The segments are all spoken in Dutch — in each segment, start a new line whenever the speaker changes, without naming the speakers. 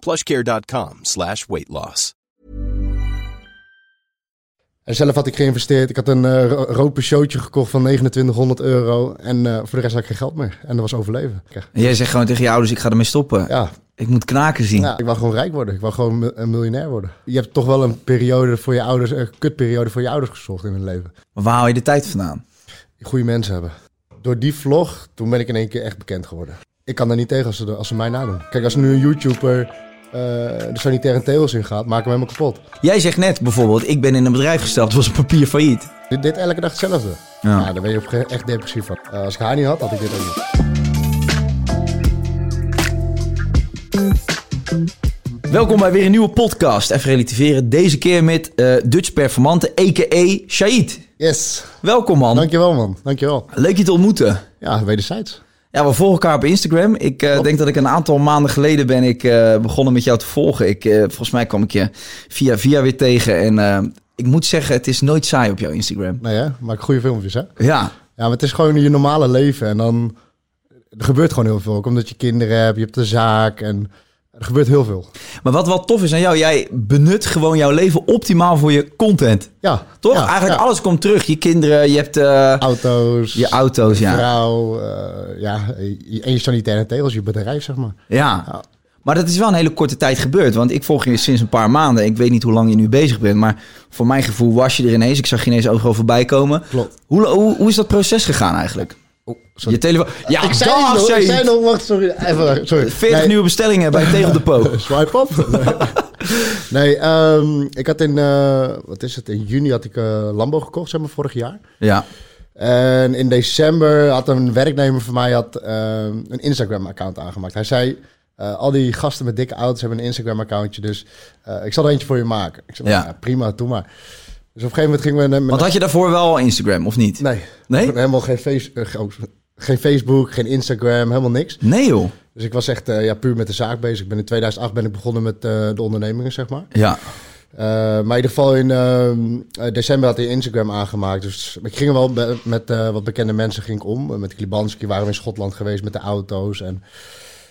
Plushcare.com slash weight loss.
En zelf had ik geïnvesteerd. Ik had een eh, ro- rood Peugeotje gekocht van 2900 euro. En eh, voor de rest had ik geen geld meer. En dat was overleven. Kijk,
En jij zegt gewoon tegen je ouders, ik ga ermee stoppen.
Ja,
Ik moet knaken zien.
ja, ik wil gewoon rijk worden. Ik wil gewoon mi- een miljonair worden. Je hebt toch wel een periode voor je ouders, een kutperiode voor je ouders gezocht in hun leven.
Maar waar haal je de tijd vandaan?
Goede mensen hebben. Door die vlog, toen ben ik in één keer echt bekend geworden. Ik kan daar niet tegen als ze, als ze mij nadoen. Kijk, als nu een YouTuber eh er sanitaire tegels in gaat, maken we helemaal kapot.
Jij zegt net bijvoorbeeld, ik ben in een bedrijf gestapt, was op papier failliet.
Dit, dit elke dag hetzelfde.
Ja.
Ja. daar ben je op een gegeven moment echt depressief van. Eh, als ik haar niet had, had ik dit ook niet.
Welkom bij weer een nieuwe podcast. Even relativeren. Deze keer met eh, Dutch Performante, a.k.a. Shahid.
Yes,
Welkom man.
dankjewel man. Dankjewel.
Leuk je te ontmoeten.
Ja, wederzijds.
Ja, we volgen elkaar op Instagram. Ik eh, denk dat ik een aantal maanden geleden ben ik eh, begonnen met jou te volgen. Ik, eh, volgens mij kwam ik je via via weer tegen. En eh, ik moet zeggen, het is nooit saai op jouw Instagram.
Nee hè, maak goede filmpjes hè.
Ja,
Ja, maar het is gewoon je normale leven en dan... Er gebeurt gewoon heel veel, ook omdat je kinderen hebt, je hebt de zaak en... Er gebeurt heel veel.
maar wat wel tof is aan jou, jij benut gewoon jouw leven optimaal voor je content.
Ja.
Toch?
Ja,
Eigenlijk
ja.
alles komt terug. Je kinderen, je hebt eh,
Auto's.
je auto's, ja.
Vrouw, eh, ja, je, en je sanitaire tegels, je bedrijf, zeg maar.
Ja. Maar dat is wel een hele korte tijd gebeurd. Want ik volg je sinds een paar maanden. Ik weet niet hoe lang je nu bezig bent. Maar voor mijn gevoel was je er ineens. Ik zag je ineens overal voorbij komen.
Klopt.
Hoe, hoe, hoe is dat proces gegaan eigenlijk? Oh, Je telefoon. Ja,
Oh, ik zei
dag,
nog,
zei
ik
je.
zei nog, wacht, sorry. Even, eh, sorry.
40
Nee.
nieuwe bestellingen bij Tegel de Po.
Swipe op. nee, ehm, ik had in, eh, wat is het, in juni had ik eh Lambo gekocht, zeg maar, vorig jaar.
Ja.
En in december had een werknemer van mij had, ehm, een Instagram-account aangemaakt. Hij zei, eh, al die gasten met dikke auto's hebben een Instagram-accountje, dus eh, ik zal er eentje voor je maken. Ik zei, "Nou,
Ja.
ja. prima, doe maar. Dus op een gegeven moment gingen we... naar-
Want had je daarvoor wel Instagram of niet?
Nee,
Nee?
helemaal geen, face, eh, ge- oh, geen Facebook, geen Instagram, helemaal niks.
Nee joh.
Dus ik was echt eh, ja, puur met de zaak bezig. Ik ben in 2008 ben ik begonnen met eh, de ondernemingen, zeg maar.
Ja.
Eh, maar in ieder geval in ehm, eh, december had hij Instagram aangemaakt. Dus ik ging wel be- met eh, wat bekende mensen ging ik om. Eh, Met Klibanski waren we in Schotland geweest met de auto's. En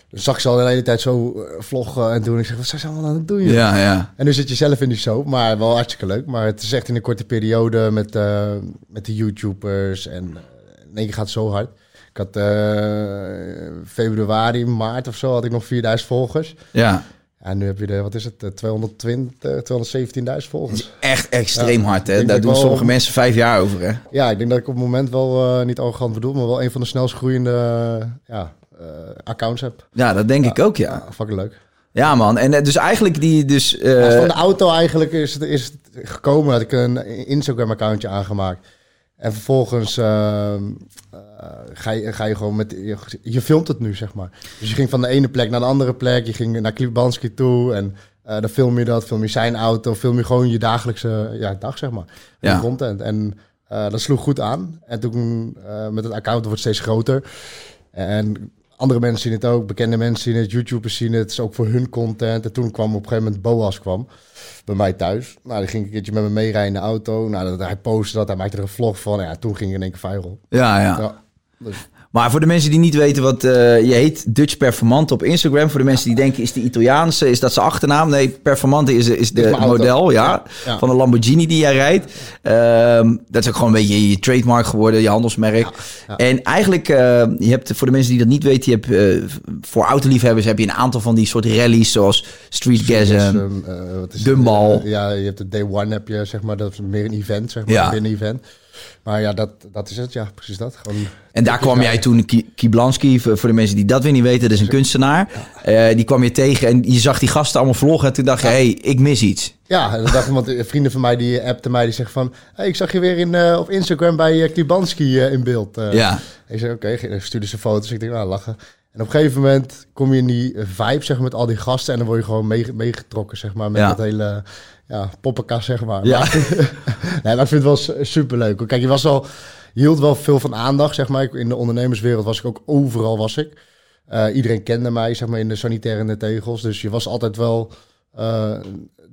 dan zag ik ze al de hele tijd zo eh, vloggen en doen. Ik zeg, wat zijn ze allemaal aan het doen? joh?
Ja, ja.
En nu zit je zelf in die soap, maar wel hartstikke leuk. Maar het is echt in een korte periode met, eh, met de YouTubers. En eh, in één keer gaat het zo hard. Ik had eh, februari, maart of zo had ik nog 4000 volgers.
Ja.
En nu heb je er, wat is het, eh, 220, 217.000 volgers.
Echt extreem
Ja,
hard
ik
hè.
denk
Daar
dat
doen
wel-
sommige mensen vijf jaar over hè.
Ja, ik denk dat ik op het moment wel, eh, niet arrogant bedoel, maar wel een van de snelst groeiende eh, ja, eh, accounts heb.
Ja, dat denk ik ook ja.
Ja, fucking leuk.
Ja man. En eh, dus eigenlijk die dus... eh,
Ja, van de auto eigenlijk is het, is het gekomen dat ik een Instagram-accountje aangemaakt. En vervolgens ehm, eh, ga, je, ga je gewoon met... Je, je filmt het nu, zeg maar. Dus je ging van de ene plek naar de andere plek. Je ging naar Klibanski toe en eh, dan film je dat. Film je zijn auto. Film je gewoon je dagelijkse ja, dag, zeg maar.
Ja.
Die Content. En eh, dat sloeg goed aan. En toen eh, met het account wordt het steeds groter. En andere mensen zien het ook, bekende mensen zien het, YouTubers zien het, het is ook voor hun content. En toen kwam op een gegeven moment Boas kwam bij mij thuis. Nou, die ging een keertje met me meerijden in de auto. Nou, dat, hij postte dat, hij maakte er een vlog van. Ja, toen ging ik in één keer viral.
ja, ja.
Ja. Dus,
Maar voor de mensen die niet weten wat eh, je heet, Dutch Performante op Instagram. Voor de mensen die denken, is die Italiaanse, is dat zijn achternaam? Nee, Performante is, is de
Is mijn auto.
model ja,
Ja.
van de Lamborghini die jij rijdt. Ehm, dat is ook gewoon een beetje je trademark geworden, je handelsmerk. En eigenlijk, eh, je hebt voor de mensen die dat niet weten, je hebt, eh, voor autoliefhebbers heb je een aantal van die soort rallies zoals Streetgasm.
Dus, ehm, eh, wat is het?
Dumbal.
Eh, ja, je hebt de day one, heb je, zeg maar, dat is meer een event, zeg maar,
Ja.
binnen event. Maar ja, dat, dat is het, ja, precies dat. Gewoon,
En daar kwam jij toen, Ki- Kiblanski, voor voor de mensen die dat weer niet weten, dat is een kunstenaar. Eh, die kwam je tegen en je zag die gasten allemaal vloggen. En toen dacht je, hey, ik mis iets.
Ja, en dan dacht iemand, eh, vrienden van mij die appte mij, die zegt van... Hey, ik zag je weer in, eh, op Instagram bij eh Klibanski eh, in beeld. eh.
Ja.
Ik zei, oké, ge- stuurde ze foto's. Ik denk, nou, lachen. En op een gegeven moment kom je in die eh, vibe, zeg maar, met al die gasten. En dan word je gewoon mee- meegetrokken, zeg maar, met
Ja.
dat hele ja, poppenkast, zeg maar.
Ja.
Maar, nee, maar ik vind het wel su- superleuk. hoor. Kijk, je was al... Je hield wel veel van aandacht, zeg maar. Ik- In de ondernemerswereld was ik ook, overal was ik. Eh, iedereen kende mij, zeg maar, in de sanitaire en de tegels. Dus je was altijd wel eh,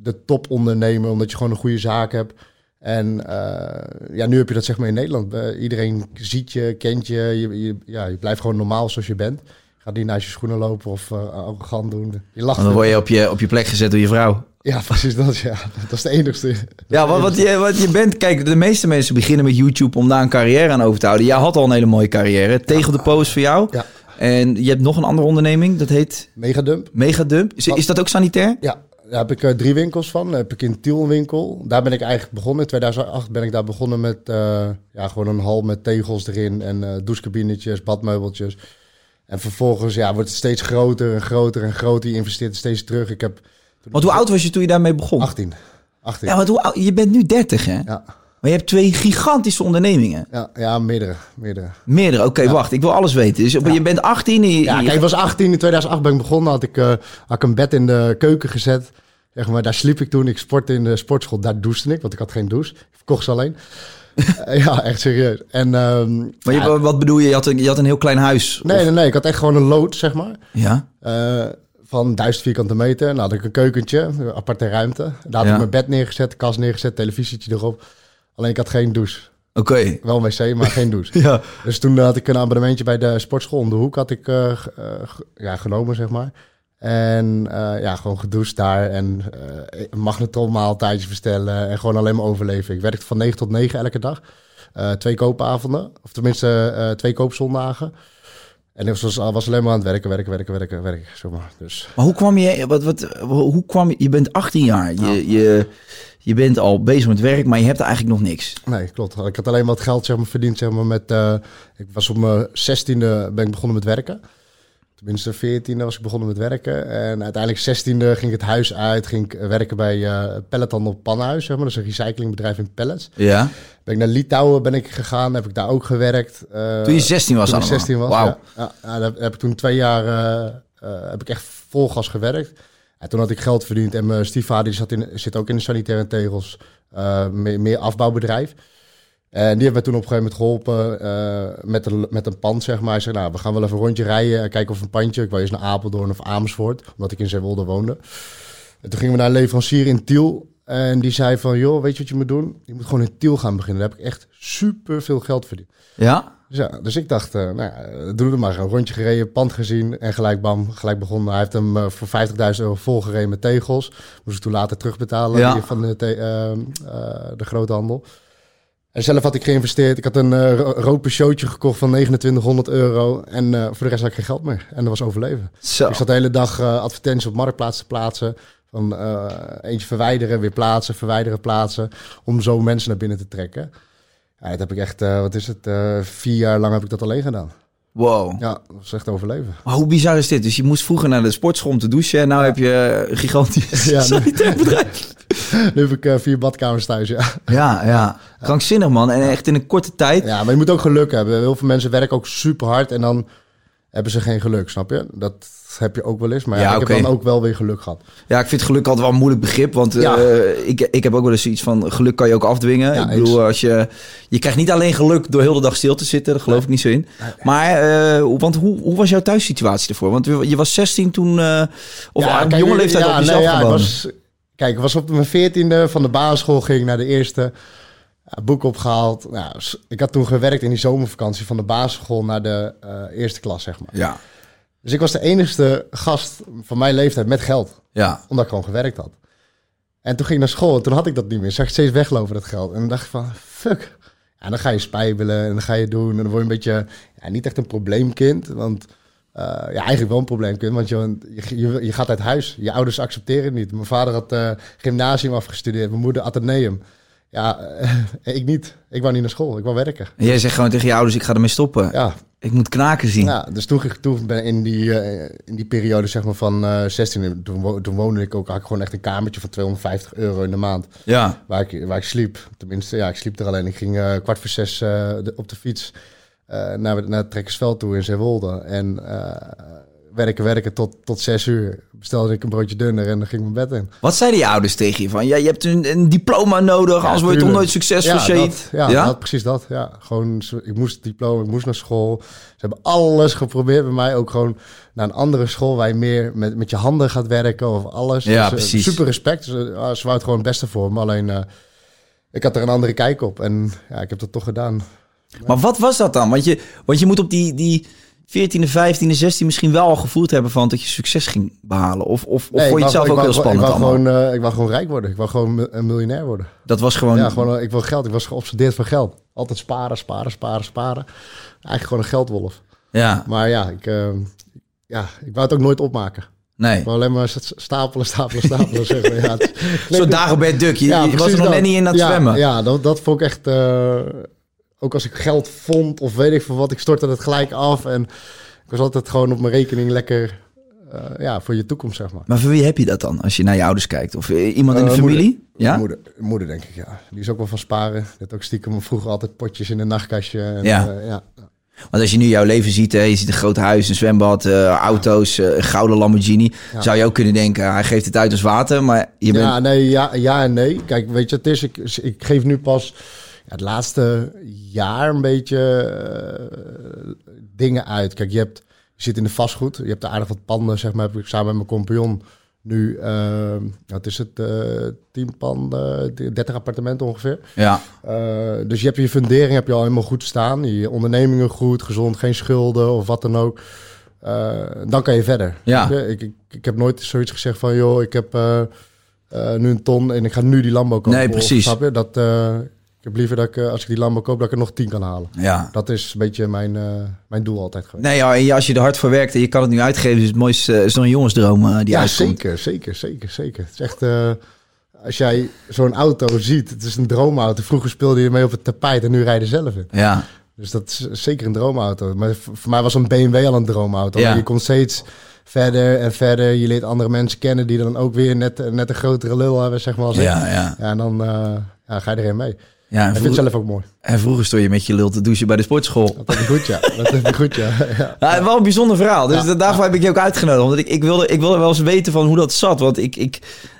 de topondernemer, omdat je gewoon een goede zaak hebt. En eh, ja, nu heb je dat zeg maar in Nederland. Eh, iedereen ziet je, kent je. Je, je- ja, je blijft gewoon normaal zoals je bent. Ga niet naast je schoenen lopen of eh arrogant doen. Je lacht.
Want dan word je op je, op je plek gezet door je vrouw.
Ja, precies dat. Ja. Dat is de enigste.
Ja, wat, wat, je, wat je bent, kijk, de meeste mensen beginnen met YouTube om daar een carrière aan over te houden. Jij had al een hele mooie carrière. Tegel de Poos voor jou.
Ja.
En je hebt nog een andere onderneming, dat heet
Megadump.
Megadump. Is, is dat ook sanitair?
Ja, daar heb ik eh, drie winkels van. Daar heb ik in Tiel een winkel. Daar ben ik eigenlijk begonnen. In 2008 ben ik daar begonnen met eh, ja, gewoon een hal met tegels erin en eh douchekabinetjes, badmeubeltjes. En vervolgens ja, wordt het steeds groter en groter en groter. Je investeert steeds terug. Ik heb
Want hoe oud was je toen je daarmee begon?
18. 18.
Ja, want hoe oud, je bent nu 30, hè?
Ja,
Maar je hebt twee gigantische ondernemingen.
ja, ja meerdere. meerdere.
Meerdere, oké, wacht. Ik wil alles weten. Dus, Je bent 18 en je-
Ja,
je-
kijk, ik was 18. In 2008 ben ik begonnen. Had ik, eh, had ik een bed in de keuken gezet. Zeg maar, daar sliep ik toen. Ik sportte in de sportschool. Daar douchte ik, want ik had geen douche. Ik verkocht ze alleen. Eh, ja, echt serieus. En, ehm,
maar je,
ja,
wat bedoel je? Je had, een, je had een heel klein huis.
nee, nee, nee. Ik had echt gewoon een lood, zeg maar.
Ja.
eh, van 1000 vierkante meter. Nou, had ik een keukentje, een aparte ruimte. Daar had
Ja.
ik mijn bed neergezet, kast neergezet, televisietje erop. Alleen ik had geen douche.
Oké.
Wel een wc, maar geen douche.
Ja.
Dus toen had ik een abonnementje bij de sportschool om de hoek had ik, eh, g- eh, g- ja, genomen, zeg maar. En eh, ja, gewoon gedoucht daar en eh een magnetronmaaltijdje verstellen en gewoon alleen maar overleven. Ik werkte van 9 tot 9 elke dag. Eh, twee koopavonden, of tenminste eh, twee koopzondagen. En ik was, was alleen maar aan het werken, werken, werken, werken, werken, zeg maar. Dus
Maar hoe kwam je... Wat, wat, hoe kwam je, je bent 18 jaar. Je, je, je bent al bezig met werk, maar je hebt eigenlijk nog niks.
nee, klopt. Ik had alleen wat geld zeg maar, verdiend, zeg maar, met... eh, ik was op mijn 16e ben ik begonnen met werken. Tenminste, 14e was ik begonnen met werken. En uiteindelijk 16e ging ik het huis uit. Ging ik werken bij eh Pellethandel Pannenhuis, zeg maar. Dat is een recyclingbedrijf in pellets.
Ja.
Ben ik naar Litouwen ben ik gegaan, heb ik daar ook gewerkt. Eh,
Toen je 16 was
toen ik
allemaal?
16 was,
Wauw.
ja. Ja, ja, daar heb ik toen twee jaar eh, eh, heb ik echt vol gas gewerkt. En toen had ik geld verdiend en mijn stiefvader die zat in, zit ook in de sanitaire tegels, eh, meer, meer afbouwbedrijf. En die heeft mij toen op een gegeven moment geholpen eh, met, een, met een pand, zeg maar. Hij zei, nou, we gaan wel even een rondje rijden en kijken of een pandje. Ik wou eens naar Apeldoorn of Amersfoort, omdat ik in Zeewolde woonde. En toen gingen we naar een leverancier in Tiel. En die zei van, joh, weet je wat je moet doen? Je moet gewoon in Tiel gaan beginnen. Daar heb ik echt super veel geld verdiend.
Ja?
Dus, ja, dus ik dacht, eh, nou ja, eh, doe het maar. Een rondje gereden, pand gezien en gelijk bam, gelijk begonnen. Hij heeft hem eh, voor 50.000 euro volgereden met tegels. Moest ik toen later terugbetalen
Ja.
die van de, te- ehm, eh, de groothandel. En zelf had ik geïnvesteerd. Ik had een eh, ro- rood showtje gekocht van 2900 euro. En eh, voor de rest had ik geen geld meer. En dat was overleven.
Zo.
Ik zat de hele dag eh, advertenties op marktplaats te plaatsen. Van eh, eentje verwijderen, weer plaatsen, verwijderen, plaatsen. Om zo mensen naar binnen te trekken. Ja, dat heb ik echt, eh, wat is het, eh, vier jaar lang heb ik dat alleen gedaan.
Wow.
Ja, dat was echt overleven.
Maar hoe bizar is dit? Dus je moest vroeger naar de sportschool om te douchen... en nou heb je een gigantisch
Ja, nee.
sanitair bedrijf.
nu heb ik eh, vier badkamers thuis, ja.
Ja, ja. Krankzinnig, man. En echt in een korte tijd.
Ja, maar je moet ook geluk hebben. Heel veel mensen werken ook super hard en dan hebben ze geen geluk, snap je? Dat heb je ook wel eens, maar ja,
Ja,
ik
oké.
heb dan ook wel weer geluk gehad.
Ja, ik vind geluk altijd wel een moeilijk begrip. Want eh,
Ja.
ik, ik heb ook wel eens zoiets van geluk kan je ook afdwingen.
Ja,
ik bedoel, als je, je krijgt niet alleen geluk door heel de dag stil te zitten. Daar geloof ik niet zo in. Maar eh, hoe- want hoe, hoe was jouw thuissituatie ervoor? Want je je was 16 toen, eh, of
Ja,
op
kijk,
jonge leeftijd
ja,
op jezelf
nee, ja, ik
gewoond.
was, Kijk, ik was op mijn veertiende van de basisschool, ging ik naar de eerste. een boek opgehaald. Nou, s- ik had toen gewerkt in die zomervakantie van de basisschool naar de eh, eerste klas, zeg maar.
Ja,
Dus ik was de enigste gast van mijn leeftijd met geld,
ja.
omdat ik gewoon gewerkt had. En toen ging ik naar school en toen had ik dat niet meer. Zag ik steeds weglopen dat geld. En dan dacht ik van, fuck. En dan ga je spijbelen en dan ga je doen. En dan word je een beetje, ja, niet echt een probleemkind. Want, eh, ja, eigenlijk wel een probleemkind. Want je, je, je, je gaat uit huis. Je ouders accepteren het niet. Mijn vader had eh, gymnasium afgestudeerd. Mijn moeder ateneum. Ja, ik niet. Ik wou niet naar school. Ik wou werken.
En jij zegt gewoon tegen je ouders, ik ga ermee stoppen.
Ja,
Ik moet knaken zien.
ja, dus toen, ging- toen ben ik in die, eh, in die periode zeg maar, van eh 16, toen, wo- toen woonde ik ook, had ik gewoon echt een kamertje van 250 euro in de maand.
Ja.
Waar ik, waar ik sliep. Tenminste, ja, ik sliep er alleen. Ik ging eh, kwart voor zes eh, de- op de fiets eh, naar, naar het Trekkersveld toe in Zeewolde. En eh, werken, werken tot, tot zes uur. Bestelde ik een broodje dunner en dan ging ik mijn bed in.
Wat zeiden je ouders tegen je? Van, ja, je hebt een, een diploma nodig, anders word je toch
tuurlijk.
nooit succesvol,
ja,
Shade?
dat, ja, dat, precies dat. Ja. Gewoon, zo- ik moest het diploma, ik moest naar school. Ze hebben alles geprobeerd bij mij. Ook gewoon naar een andere school waar je meer met, met je handen gaat werken of alles.
Ja,
eh,
precies.
Super respect. Ze, ah, ze wou het gewoon het beste voor me. Alleen, eh, ik had er een andere kijk op. En ja, ik heb dat toch gedaan.
Maar wat was dat dan? Want je, want je moet op die, die 14e, 15e, 16e misschien wel al gevoeld hebben van dat je succes ging behalen. Of, of, of
Nee,
vond
ik
je
wou-
het zelf
ik
ook
wou-
heel spannend
Ik wou,
allemaal?
gewoon, eh, ik wou gewoon rijk worden. Ik wou gewoon mi- een miljonair worden.
dat was gewoon...
Ja, gewoon, eh, ik wil geld. Ik was geobsedeerd van geld. Altijd sparen, sparen, sparen, sparen. Eigenlijk gewoon een geldwolf.
ja,
Maar ja, ik, eh, ja, ik wou het ook nooit opmaken.
nee.
Ik wou alleen maar st- stapelen, stapelen, stapelen. zeg maar. ja, het
Een soort
klinkt-
Dagobert Duck. Je,
Ja,
je was
precies
er nog
dat.
net niet in aan het
Ja,
zwemmen.
Ja, dat, dat vond ik echt... eh, ook als ik geld vond of weet ik veel wat, ik stortte het gelijk af. En ik was altijd gewoon op mijn rekening lekker eh, ja, voor je toekomst, zeg maar.
Maar voor wie heb je dat dan? Als je naar je ouders kijkt? Of eh, iemand in de
Eh,
familie?
Moeder,
Ja?
moeder, moeder, denk ik, ja. Die is ook wel van sparen. Die had ook stiekem vroeger altijd potjes in de nachtkastje. En,
Ja.
eh, ja.
Want als je nu jouw leven ziet, hè, je ziet een groot huis, een zwembad, eh, auto's, eh, een gouden Lamborghini. Zou je ook kunnen denken, hij geeft het uit als water, maar je bent...
Ja, nee, ja, ja en nee. Kijk, weet je, het is, ik, ik geef nu pas ja, het laatste jaar een beetje eh, dingen uit. Kijk, je, hebt, je zit in de vastgoed, je hebt er aardig wat panden, zeg maar, heb ik samen met mijn compagnon nu, eh, wat is het, eh 10 panden, 30 appartementen ongeveer.
Ja.
Eh, dus je hebt je fundering heb je al helemaal goed staan. Je ondernemingen goed, gezond, geen schulden of wat dan ook. Eh, dan kan je verder.
Ja.
Snap je? Ik, ik, ik heb nooit zoiets gezegd van... joh, ik heb eh, eh, nu een ton en ik ga nu die Lambo kopen.
Nee, precies.
Of, snap je? Dat, eh, ik heb liever dat ik, eh, als ik die Lambo koop... dat ik er nog tien kan halen.
ja.
Dat is een beetje mijn, eh, mijn doel altijd geweest.
Nee, ja, en je- als je er hard voor werkt en je kan het nu uitgeven, is het mooiste eh, is dan een jongensdroom eh, die
ja,
uitkomt.
zeker, zeker, zeker, zeker. Het is echt... eh, als jij zo'n auto ziet, het is een droomauto. Vroeger speelde je mee op het tapijt en nu rijden zelf in.
Ja,
Dus dat is zeker een droomauto. Maar v- voor mij was een BMW al een droomauto.
Ja.
Je komt steeds verder en verder. Je leert andere mensen kennen die dan ook weer net, net een grotere lul hebben, zeg maar. Als ik.
ja, ja.
Ja, en dan eh, ja, ga je erin mee.
ja
Ik
en,
vind het
vroeger,
zelf ook mooi.
en vroeger stond je met je lul te douchen bij de sportschool.
Dat heb ik goed, ja. Dat heb ik goed, ja. ja.
Ja, wel een bijzonder verhaal. Dus da- daarvoor heb ik je ook uitgenodigd. Omdat ik, ik, wilde, ik wilde wel eens weten van hoe dat zat. Want ik, ik,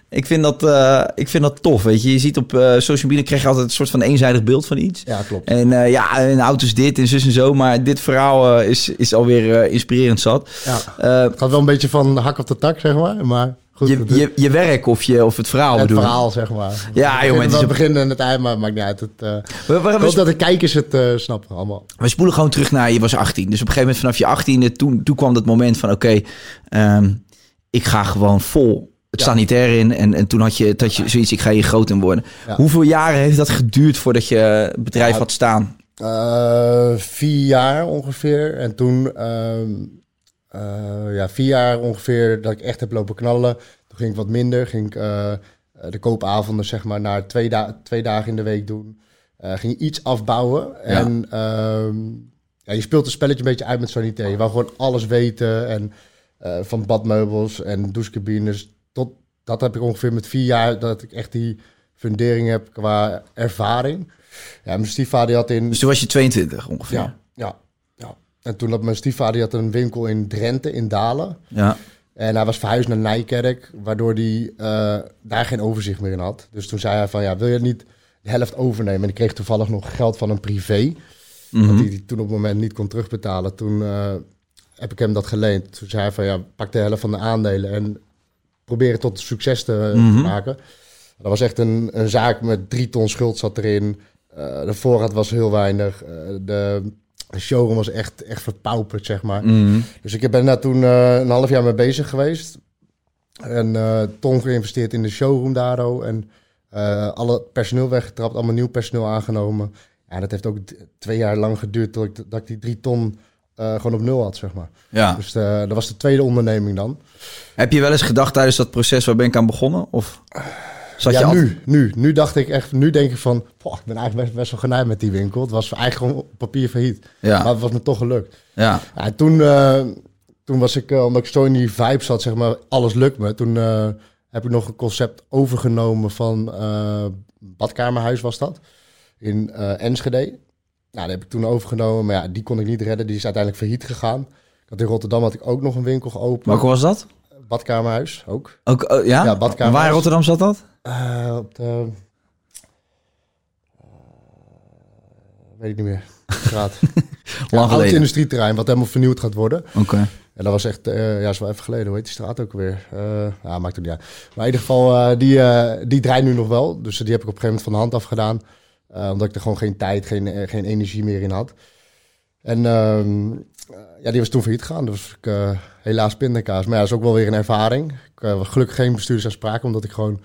ik, vind, dat, eh, ik vind dat tof. Weet je. je ziet op eh, social media krijg je altijd een soort van eenzijdig beeld van iets.
Ja, klopt.
En eh, ja, en auto's dit en zus en zo. Maar dit verhaal eh, is, is alweer eh, inspirerend zat.
Ja.
Eh,
Het gaat wel een beetje van hak op de tak, zeg maar. Maar goed,
je,
het,
je, je werk of, je, of het verhaal
het
bedoel ik.
verhaal, zeg maar.
Ja,
Het
jongen,
begin-
het is
Het
een-
begin en het eind, maar het maakt niet uit. Het, eh,
We, we-
ik
we-
hoop dat de kijkers het eh, snappen allemaal.
we spoelen gewoon terug naar je was 18. Dus op een gegeven moment vanaf je 18e, toen, toen kwam dat moment van oké, ehm, ik ga gewoon vol het
Ja.
sanitair in. En, en toen had je, dat je zoiets, ik ga hier groot in worden.
Ja. Nou,
Hoeveel jaren heeft dat geduurd voordat je het bedrijf had staan?
Eh, vier jaar ongeveer. En toen, ehm, eh, ja, vier jaar ongeveer dat ik echt heb lopen knallen. Toen ging ik wat minder. Ging ik eh, eh, de koopavonden, zeg maar, naar twee, da- twee dagen in de week doen. Eh, ging iets afbouwen. En ehm, ja, je speelt het spelletje een beetje uit met sanitair. Je wou gewoon alles weten. En eh, van badmeubels en douchecabines. Tot, dat heb ik ongeveer met vier jaar dat ik echt die fundering heb qua ervaring. Ja, mijn stiefvader die had in...
Dus toen was je 22 ongeveer.
Ja, ja, ja. En toen had mijn stiefvader die had een winkel in Drenthe, in Dalen.
ja.
En hij was verhuisd naar Nijkerk, waardoor hij eh, daar geen overzicht meer in had. Dus toen zei hij van, ja, wil je niet de helft overnemen? En ik kreeg toevallig nog geld van een privé, dat hij die toen op het moment niet kon terugbetalen. Toen eh, heb ik hem dat geleend. Toen zei hij van, ja, pak de helft van de aandelen en probeer het tot succes te, te maken. Dat was echt een, een zaak met drie ton schuld zat erin. Eh, Eh, de voorraad was heel weinig. Eh, de showroom was echt, echt verpauperd, zeg maar. Dus ik ben daar toen eh, een half jaar mee bezig geweest. En eh ton geïnvesteerd in de showroom daar ook. En eh, alle personeel weggetrapt, allemaal nieuw personeel aangenomen. Ja, dat heeft ook d- twee jaar lang geduurd tot ik, dat ik die drie ton eh, gewoon op nul had, zeg maar.
Ja.
Dus eh, dat was de tweede onderneming dan.
Heb je wel eens gedacht tijdens dat proces, waar ben ik aan begonnen? Of zat je
ja,
al-
nu, nu. Nu dacht ik echt, nu denk ik van, poh, ik ben eigenlijk best, best wel genaaid met die winkel. Het was eigenlijk gewoon op papier failliet.
Ja.
Maar het was me toch gelukt.
Ja.
Ja, toen, eh, toen was ik, eh, omdat ik zo in die vibe zat, zeg maar, alles lukt me. Toen eh, heb ik nog een concept overgenomen van eh, Badkamerhuis was dat, in eh, Enschede. Nou, die heb ik toen overgenomen, maar ja, die kon ik niet redden. Die is uiteindelijk failliet gegaan. Ik had in Rotterdam had ik ook nog een winkel geopend.
Welke was dat?
Badkamerhuis ook.
Ook, eh, ja?
Ja, badkamer.
Waar in Rotterdam zat dat?
Eh, op de... eh, weet ik niet meer. Straat.
Lang
Oud
geleden.
industrieterrein, wat helemaal vernieuwd gaat worden.
Oké.
En dat was echt, eh, ja, is wel even geleden. Hoe heet die straat ook weer? Eh nou, maakt het niet uit. Maar in ieder geval, eh, die, eh, die draait nu nog wel. Dus die heb ik op een gegeven moment van de hand afgedaan. Eh, omdat ik er gewoon geen tijd, geen, eh, geen energie meer in had. En ehm, eh, ja, die was toen failliet gegaan. Dus ik, eh, helaas pindakaas. Maar ja, dat is ook wel weer een ervaring. Ik eh, was gelukkig geen bestuursaanspraak, omdat ik gewoon...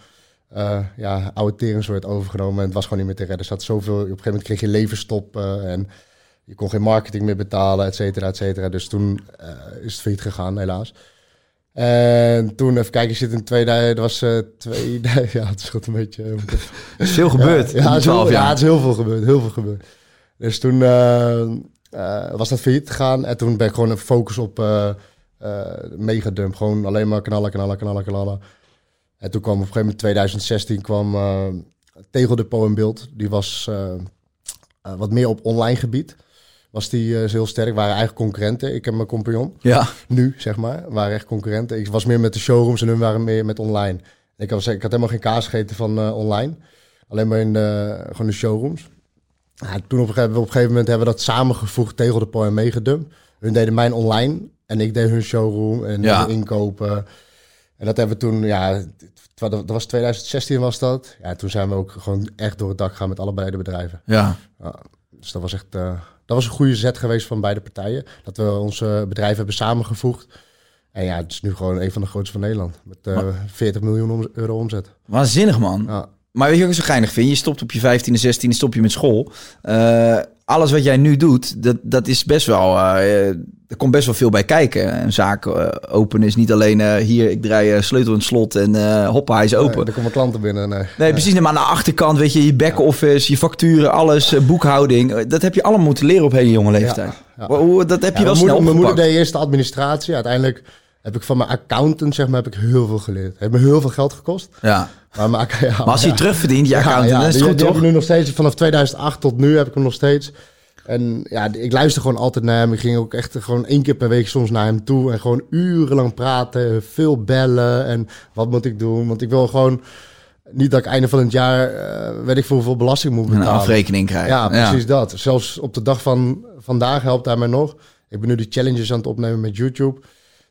eh ja, oude tering werd overgenomen en het was gewoon niet meer te redden. Er zat zoveel, op een gegeven moment kreeg je leverstop eh, en je kon geen marketing meer betalen, et cetera, et cetera. Dus toen eh, is het failliet gegaan, helaas. En toen, even kijken, je zit in 2000, dat was eh 2000, ja, het scheelt een beetje. eh, moet ik even-
Er is veel gebeurd
ja,
in
het
die
is heel-
12
ja,
jaar.
het is heel veel gebeurd, heel veel gebeurd. Dus toen eh, eh, was dat failliet gegaan en toen ben ik gewoon een focus op eh eh megadump. Gewoon alleen maar knallen, knallen, knallen, knallen. En toen kwam op een gegeven moment 2016 kwam eh Tegeldepot in beeld. Die was eh, eh, wat meer op online gebied. Was die eh, heel sterk, waren eigen concurrenten. Ik en mijn compagnon
Ja.
nu, zeg maar, waren echt concurrenten. Ik was meer met de showrooms en hun waren meer met online. Ik had, ik had helemaal geen kaas gegeten van eh, online. Alleen maar in de, gewoon de showrooms. Ja, toen op een, gegeven, op een gegeven moment hebben we dat samengevoegd tegen de Po en Megadump. Hun deden mijn online en ik deed hun showroom en
Ja.
hun inkopen. En dat hebben we toen, ja, t- dat was 2016 was dat. Ja, toen zijn we ook gewoon echt door het dak gegaan met allebei de bedrijven.
Ja.
Dus dat was echt eh, dat was een goede zet geweest van beide partijen. Dat we onze bedrijven hebben samengevoegd. En ja, het is nu gewoon een van de grootste van Nederland. Met eh, 40 miljoen omz- euro omzet.
Waanzinnig, man.
Ja.
Maar weet je wat ik zo geinig vind? Je stopt op je 15e, 16e, stop je met school. Eh, alles wat jij nu doet, dat, dat is best wel... eh, er komt best wel veel bij kijken. Een zaak eh, openen is niet alleen eh, hier, ik draai eh, sleutel in het slot en eh hoppa, hij is
Eh,
open.
er komen klanten binnen. Nee.
Nee, precies. Maar aan de achterkant, weet je, je back-office, je facturen, alles, eh, boekhouding. Eh, Dat heb je allemaal moeten leren op hele jonge leeftijd.
ja.
Hoe- hoe- Dat heb je
Ja,
wel
mijn,
snel
moeder, mijn moeder
opgepakt.
deed eerst de administratie. Uiteindelijk heb ik van mijn accountant zeg maar, heb ik heel veel geleerd. Heeft me heel veel geld gekost.
Ja.
Maar, mijn, acc- ja,
Maar als je
ja.
terugverdient, je
Ja,
accountant,
ja,
dat is
die-
goed,
die
toch?
Heb ik nu nog steeds, vanaf 2008 tot nu heb ik hem nog steeds. En ja, die- ik luister gewoon altijd naar hem. Ik ging ook echt gewoon één keer per week soms naar hem toe. En gewoon urenlang praten, veel bellen. En wat moet ik doen? Want ik wil gewoon niet dat ik einde van het jaar, eh, weet ik veel hoeveel belasting moet
Een
betalen.
afrekening krijgen.
Ja, precies dat. Zelfs op de dag van vandaag helpt hij mij nog. Ik ben nu die challenges aan het opnemen met YouTube.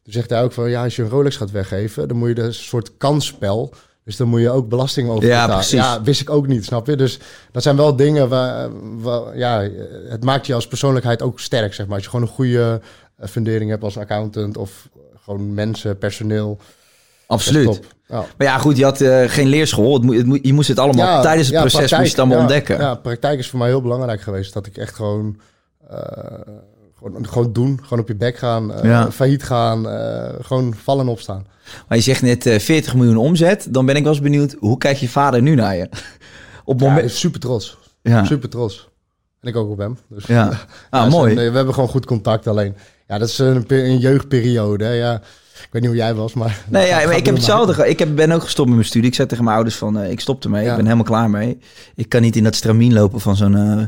Toen zegt hij ook van, ja, als je een Rolex gaat weggeven, dan moet je dus een soort kansspel. Dus dan moet je ook belasting over
Ja,
betalen.
precies.
Ja, wist ik ook niet, snap je? Dus dat zijn wel dingen waar, waar- ja, het maakt je als persoonlijkheid ook sterk, zeg maar. Als je gewoon een goede eh, fundering hebt als accountant of gewoon mensen, personeel.
Absoluut.
Top. Ja.
Maar ja, goed, je had eh, geen leerschool. Het moet, het moet- je moest het allemaal
Ja,
tijdens het
ja,
proces
praktijk,
moest het allemaal
ja,
ontdekken.
Ja, praktijk is voor mij heel belangrijk geweest. Dat ik echt gewoon, eh, gewoon, gewoon doen, gewoon op je bek gaan, eh,
Ja.
failliet gaan, eh, gewoon vallen en opstaan.
Maar je zegt net eh, 40 miljoen omzet. Dan ben ik wel eens benieuwd, hoe kijkt je vader nu naar je? Op
Ja,
moment...
super trots,
Ja.
super trots. En ik ook op hem. Dus.
Ja. Ah,
Ja,
mooi.
ze- nee, we hebben gewoon goed contact alleen. Ja, dat is een, pe- een jeugdperiode. hè, Ja. Ik weet niet hoe jij was, maar...
Nee, ja,
Gaat
maar ik heb
door,
hetzelfde. ge- Ik heb, ben ook gestopt met mijn studie. Ik zei tegen mijn ouders van, eh, ik stop ermee.
Ja.
Ik ben helemaal klaar mee. Ik kan niet in dat stramien lopen van zo'n... eh,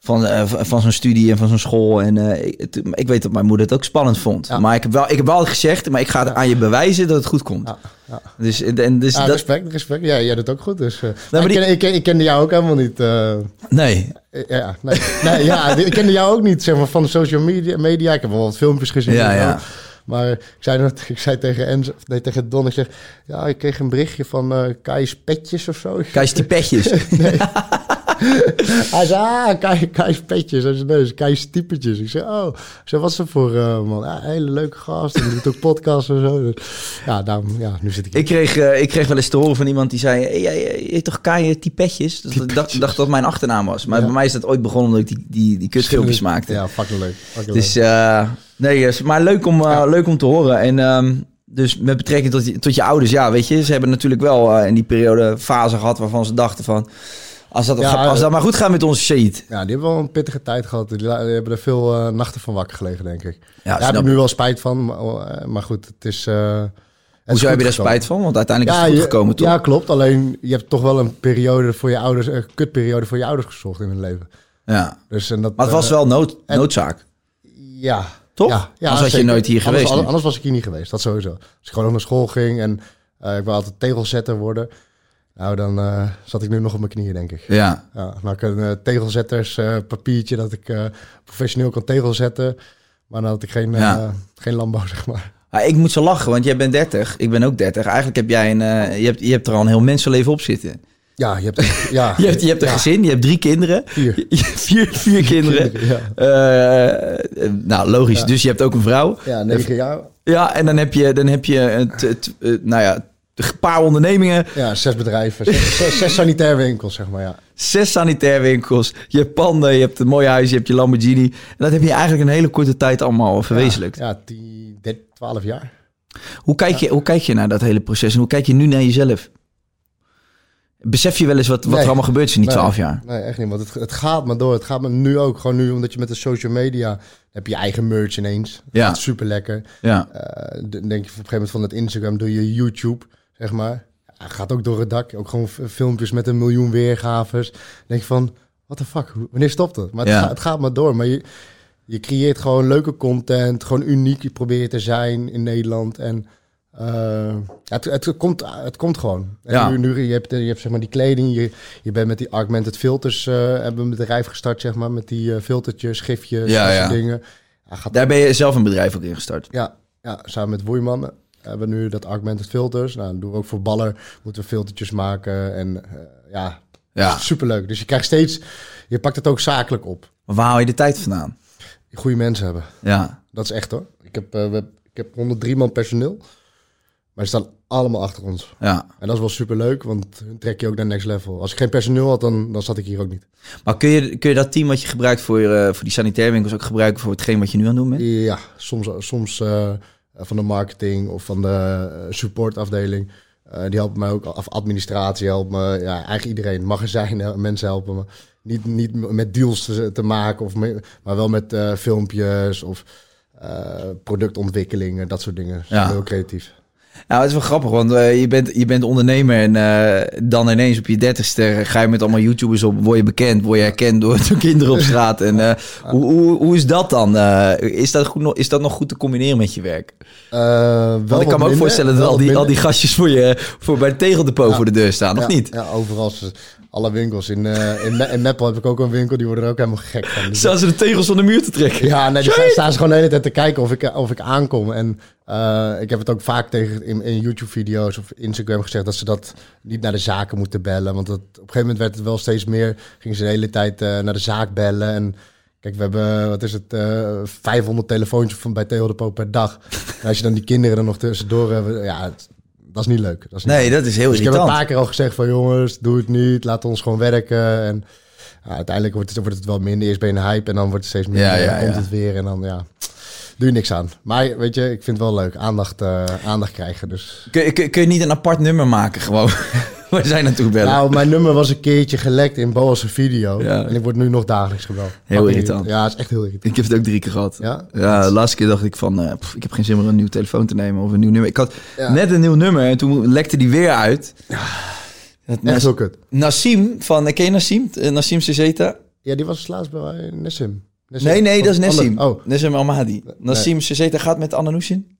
van, eh, v- van zo'n studie en van zo'n school. En eh, ik, het- ik weet dat mijn moeder het ook spannend vond.
Ja.
Maar ik heb, wel, ik heb wel gezegd, maar ik ga het aan je bewijzen dat het goed komt.
Ja, ja.
Dus, en- en dus
Ja,
dat,
respect, respect. Ja, jij doet ook goed. Dus, eh, maar
maar
ik,
die-
ken, ik, ken- ik kende jou ook helemaal niet. eh,
nee,
Eh, Ja, nee, nee, ja, ik kende jou ook niet, zeg maar, van de social media. media. Ik heb wel wat filmpjes gezien.
Ja,
en zo.
ja.
Maar ik zei, nog- ik zei tegen, Enzo, of nee, tegen Don, ik zeg... Ja, ik kreeg een berichtje van eh Kai's Petjes of zo.
Kijk, die petjes.
Nee. Hij zei, ah, Kai- Kai's petjes. Hij zei, nee, dat is Kai's typetjes. Ik zei, oh. Ik zei, wat is dat voor eh, man? Ja, een hele leuke gast. En die doet ook podcasts en zo. Dus, ja, daarom, ja, nu zit ik hier.
Ik kreeg, eh, ik kreeg wel eens te horen van iemand die zei... "Hey, jij jij heet toch Kai Typetjes? Dat ik dacht, dacht dat mijn achternaam was. Maar bij mij is dat ooit begonnen omdat ik die, die, die kutfilmpjes maakte.
Ja, fucking leuk. Fucking
Dus
leuk.
eh, nee, yes, maar leuk om, eh, leuk om te horen. En ehm, dus met betrekking tot je, tot je ouders, ja, weet je, ze hebben natuurlijk wel eh, in die periode fase gehad waarvan ze dachten van. Als dat,
Ja,
als dat
eh,
maar goed gaat met onze shit.
Ja, die hebben wel een pittige tijd gehad. Die la- die hebben er veel eh, nachten van wakker gelegen, denk ik. Daar
snap
heb ik
ik.
nu wel spijt van. Maar, eh, maar goed, het is... eh, het is
Hoezo
goed
heb je daar
gekomen.
spijt van? Want uiteindelijk is het
je-
goed gekomen, toch?
Ja, klopt. Alleen je hebt toch wel een periode voor je ouders, een kutperiode voor je ouders gezocht in hun leven.
Ja.
Dus, en dat,
Maar het was
eh,
wel nood,
en-
noodzaak.
Ja.
Toch?
Ja, ja,
Anders had je
zeker.
nooit hier
Anders-
geweest nu.
Anders, was ik hier niet geweest, dat sowieso. Als ik gewoon nog naar school ging en eh, ik wil altijd tegelzetter worden. Nou, dan eh, zat ik nu nog op mijn knieën, denk ik.
Ja.
Ja, maar ik een eh, tegelzetters eh, papiertje dat ik eh, professioneel kan tegelzetten. Maar dan had ik geen, eh,
Ja.
geen landbouw, zeg maar.
Maar Ah, ik moet zo lachen, want jij bent 30. Ik ben ook 30. Eigenlijk heb jij een. eh, je, hebt, je hebt er al een heel mensenleven op zitten.
Ja, je hebt... Ja,
Je hebt, je hebt een
ja.
gezin, je hebt drie kinderen.
Vier.
Je hebt vier, vier kinderen.
kinderen,
Eh, eh, nou, logisch. Dus je hebt ook een vrouw.
Ja, negen jaar.
Ja, en dan heb je, dan heb je een t- t- eh, nou ja, een paar ondernemingen,
Ja, zes bedrijven. Zes, zes, zes sanitair winkels, zeg maar, ja.
zes sanitairwinkels, je hebt panden, je hebt een mooi huis, je hebt je Lamborghini. En dat heb je eigenlijk een hele korte tijd allemaal verwezenlijkt.
Ja, tien, dert- twaalf jaar.
Hoe, kijk je, hoe kijk je naar dat hele proces en hoe kijk je nu naar jezelf? Besef je wel eens wat, wat
Nee.
er allemaal gebeurt in die twaalf jaar?
Nee, echt niet. Want het, het gaat maar door. Het gaat maar nu ook. Gewoon nu, omdat je met de social media... dan heb je je eigen merch ineens.
Ja.
Dat is super lekker.
Ja.
Eh, dan denk je op een gegeven moment van het Instagram... doe je YouTube, zeg maar. Ja, gaat ook door het dak. Ook gewoon f- filmpjes met een miljoen weergaves. Dan denk je van, what the fuck? Wanneer stopt het? Maar het,
Ja.
ga- het gaat maar door. Maar je, je creëert gewoon leuke content. Gewoon uniek je probeert te zijn in Nederland. En eh, het, het, komt, het komt gewoon. En
Ja.
Nu, nu, je hebt, je hebt zeg maar die kleding. Je, je bent met die augmented filters... eh, hebben een bedrijf gestart, zeg maar. Met die eh, filtertjes, gifjes,
Ja,
dat soort
ja.
dingen. Ja, gaat
Daar ben je zelf een bedrijf ook in gestart.
ja, ja samen met Woeiman hebben we nu dat augmented filters. Nou, dat doen we ook voor baller. Moeten we filtertjes maken. En eh, ja,
Ja.
superleuk. Dus je krijgt steeds... Je pakt het ook zakelijk op.
Maar waar haal je de tijd vandaan?
Goede mensen hebben.
Ja.
Dat is echt hoor. Ik heb, eh, we, ik heb 103 man personeel. Maar ze staan allemaal achter ons.
Ja.
En dat is wel superleuk, want hun trek je ook naar next level. Als ik geen personeel had, dan, dan zat ik hier ook niet.
Maar kun je, kun je dat team wat je gebruikt voor, eh, voor die sanitairwinkels ook gebruiken voor hetgeen wat je nu aan het doen bent?
Ja, soms, soms eh, van de marketing of van de eh, supportafdeling. Eh, die helpt mij ook, of administratie helpt me. Ja, eigenlijk iedereen. Magazijn, mensen helpen me. Niet, niet met deals te, te maken, of me- maar wel met eh, filmpjes of eh, productontwikkelingen, dat soort dingen. Dus
Ja.
Heel creatief.
Nou, het is wel grappig, want eh, je, bent, je bent ondernemer en eh, dan ineens op je dertigste eh, ga je met allemaal YouTubers op, word je bekend, word je herkend door, door kinderen op straat. En eh, hoe, hoe, hoe is dat dan? Eh, is, dat goed, nog- is dat nog goed te combineren met je werk?
Eh, wel
Want
wat
ik kan me ook
minder,
voorstellen dat
wel
al
wat
die, al
minder.
die gastjes voor je voor bij de tegeldepo voor de deur staan, of
ja,
niet?
Ja, overal. ze- Alle winkels. In, eh in, Me- in Meppel heb ik ook een winkel, die worden er ook helemaal gek van. Dus
Staan ze de tegels van de muur te trekken?
Ja, nee, die staan- staan ze gewoon de hele tijd te kijken of ik, eh, of ik aankom. En eh, ik heb het ook vaak tegen in, in YouTube-video's of Instagram gezegd dat ze dat niet naar de zaken moeten bellen. Want dat, op een gegeven moment werd het wel steeds meer. Gingen ze de hele tijd eh, naar de zaak bellen. En kijk, we hebben, wat is het, eh 500 telefoontjes van bij Theo de Poop per dag. En als je dan die kinderen er nog tussendoor hebben, ja, het- dat is niet leuk. Dat is niet
Nee,
leuk.
dat is heel
Dus ik heb een
irritant.
paar keer al gezegd van jongens, doe het niet, laat ons gewoon werken. En ja, uiteindelijk wordt het, wordt het wel minder. Eerst ben je een hype en dan wordt het steeds minder.
Ja, ja,
dan komt
ja.
het weer en dan ja, doe je niks aan. Maar weet je, ik vind het wel leuk. Aandacht, eh, aandacht krijgen. Dus.
Kun, je- kun, je- kun je niet een apart nummer maken gewoon? Waar zijn naartoe bellen?
Nou, mijn nummer was een keertje gelekt in Boas' video.
Ja.
En ik word nu nog dagelijks gebeld. Fucking
irritant.
Ja, het is echt heel irritant.
Ik heb het ook drie keer gehad.
Ja?
de laatste keer dacht ik van, eh, pff, ik heb geen zin meer om een nieuw telefoon te nemen of een nieuw nummer. Ik had
Ja.
net een nieuw nummer en toen lekte die weer uit. Dat
Echt
Nas-
heel kut.
Nassim van, eh, ken je Nassim? Eh, Nassim Sezeta?
Ja, die was laatst bij Nessim. Nessim.
Nee, nee, dat is
Van-
Nassim.
Oh,
Nassim Almadi. Nassim Sezeta gaat met Ananushin?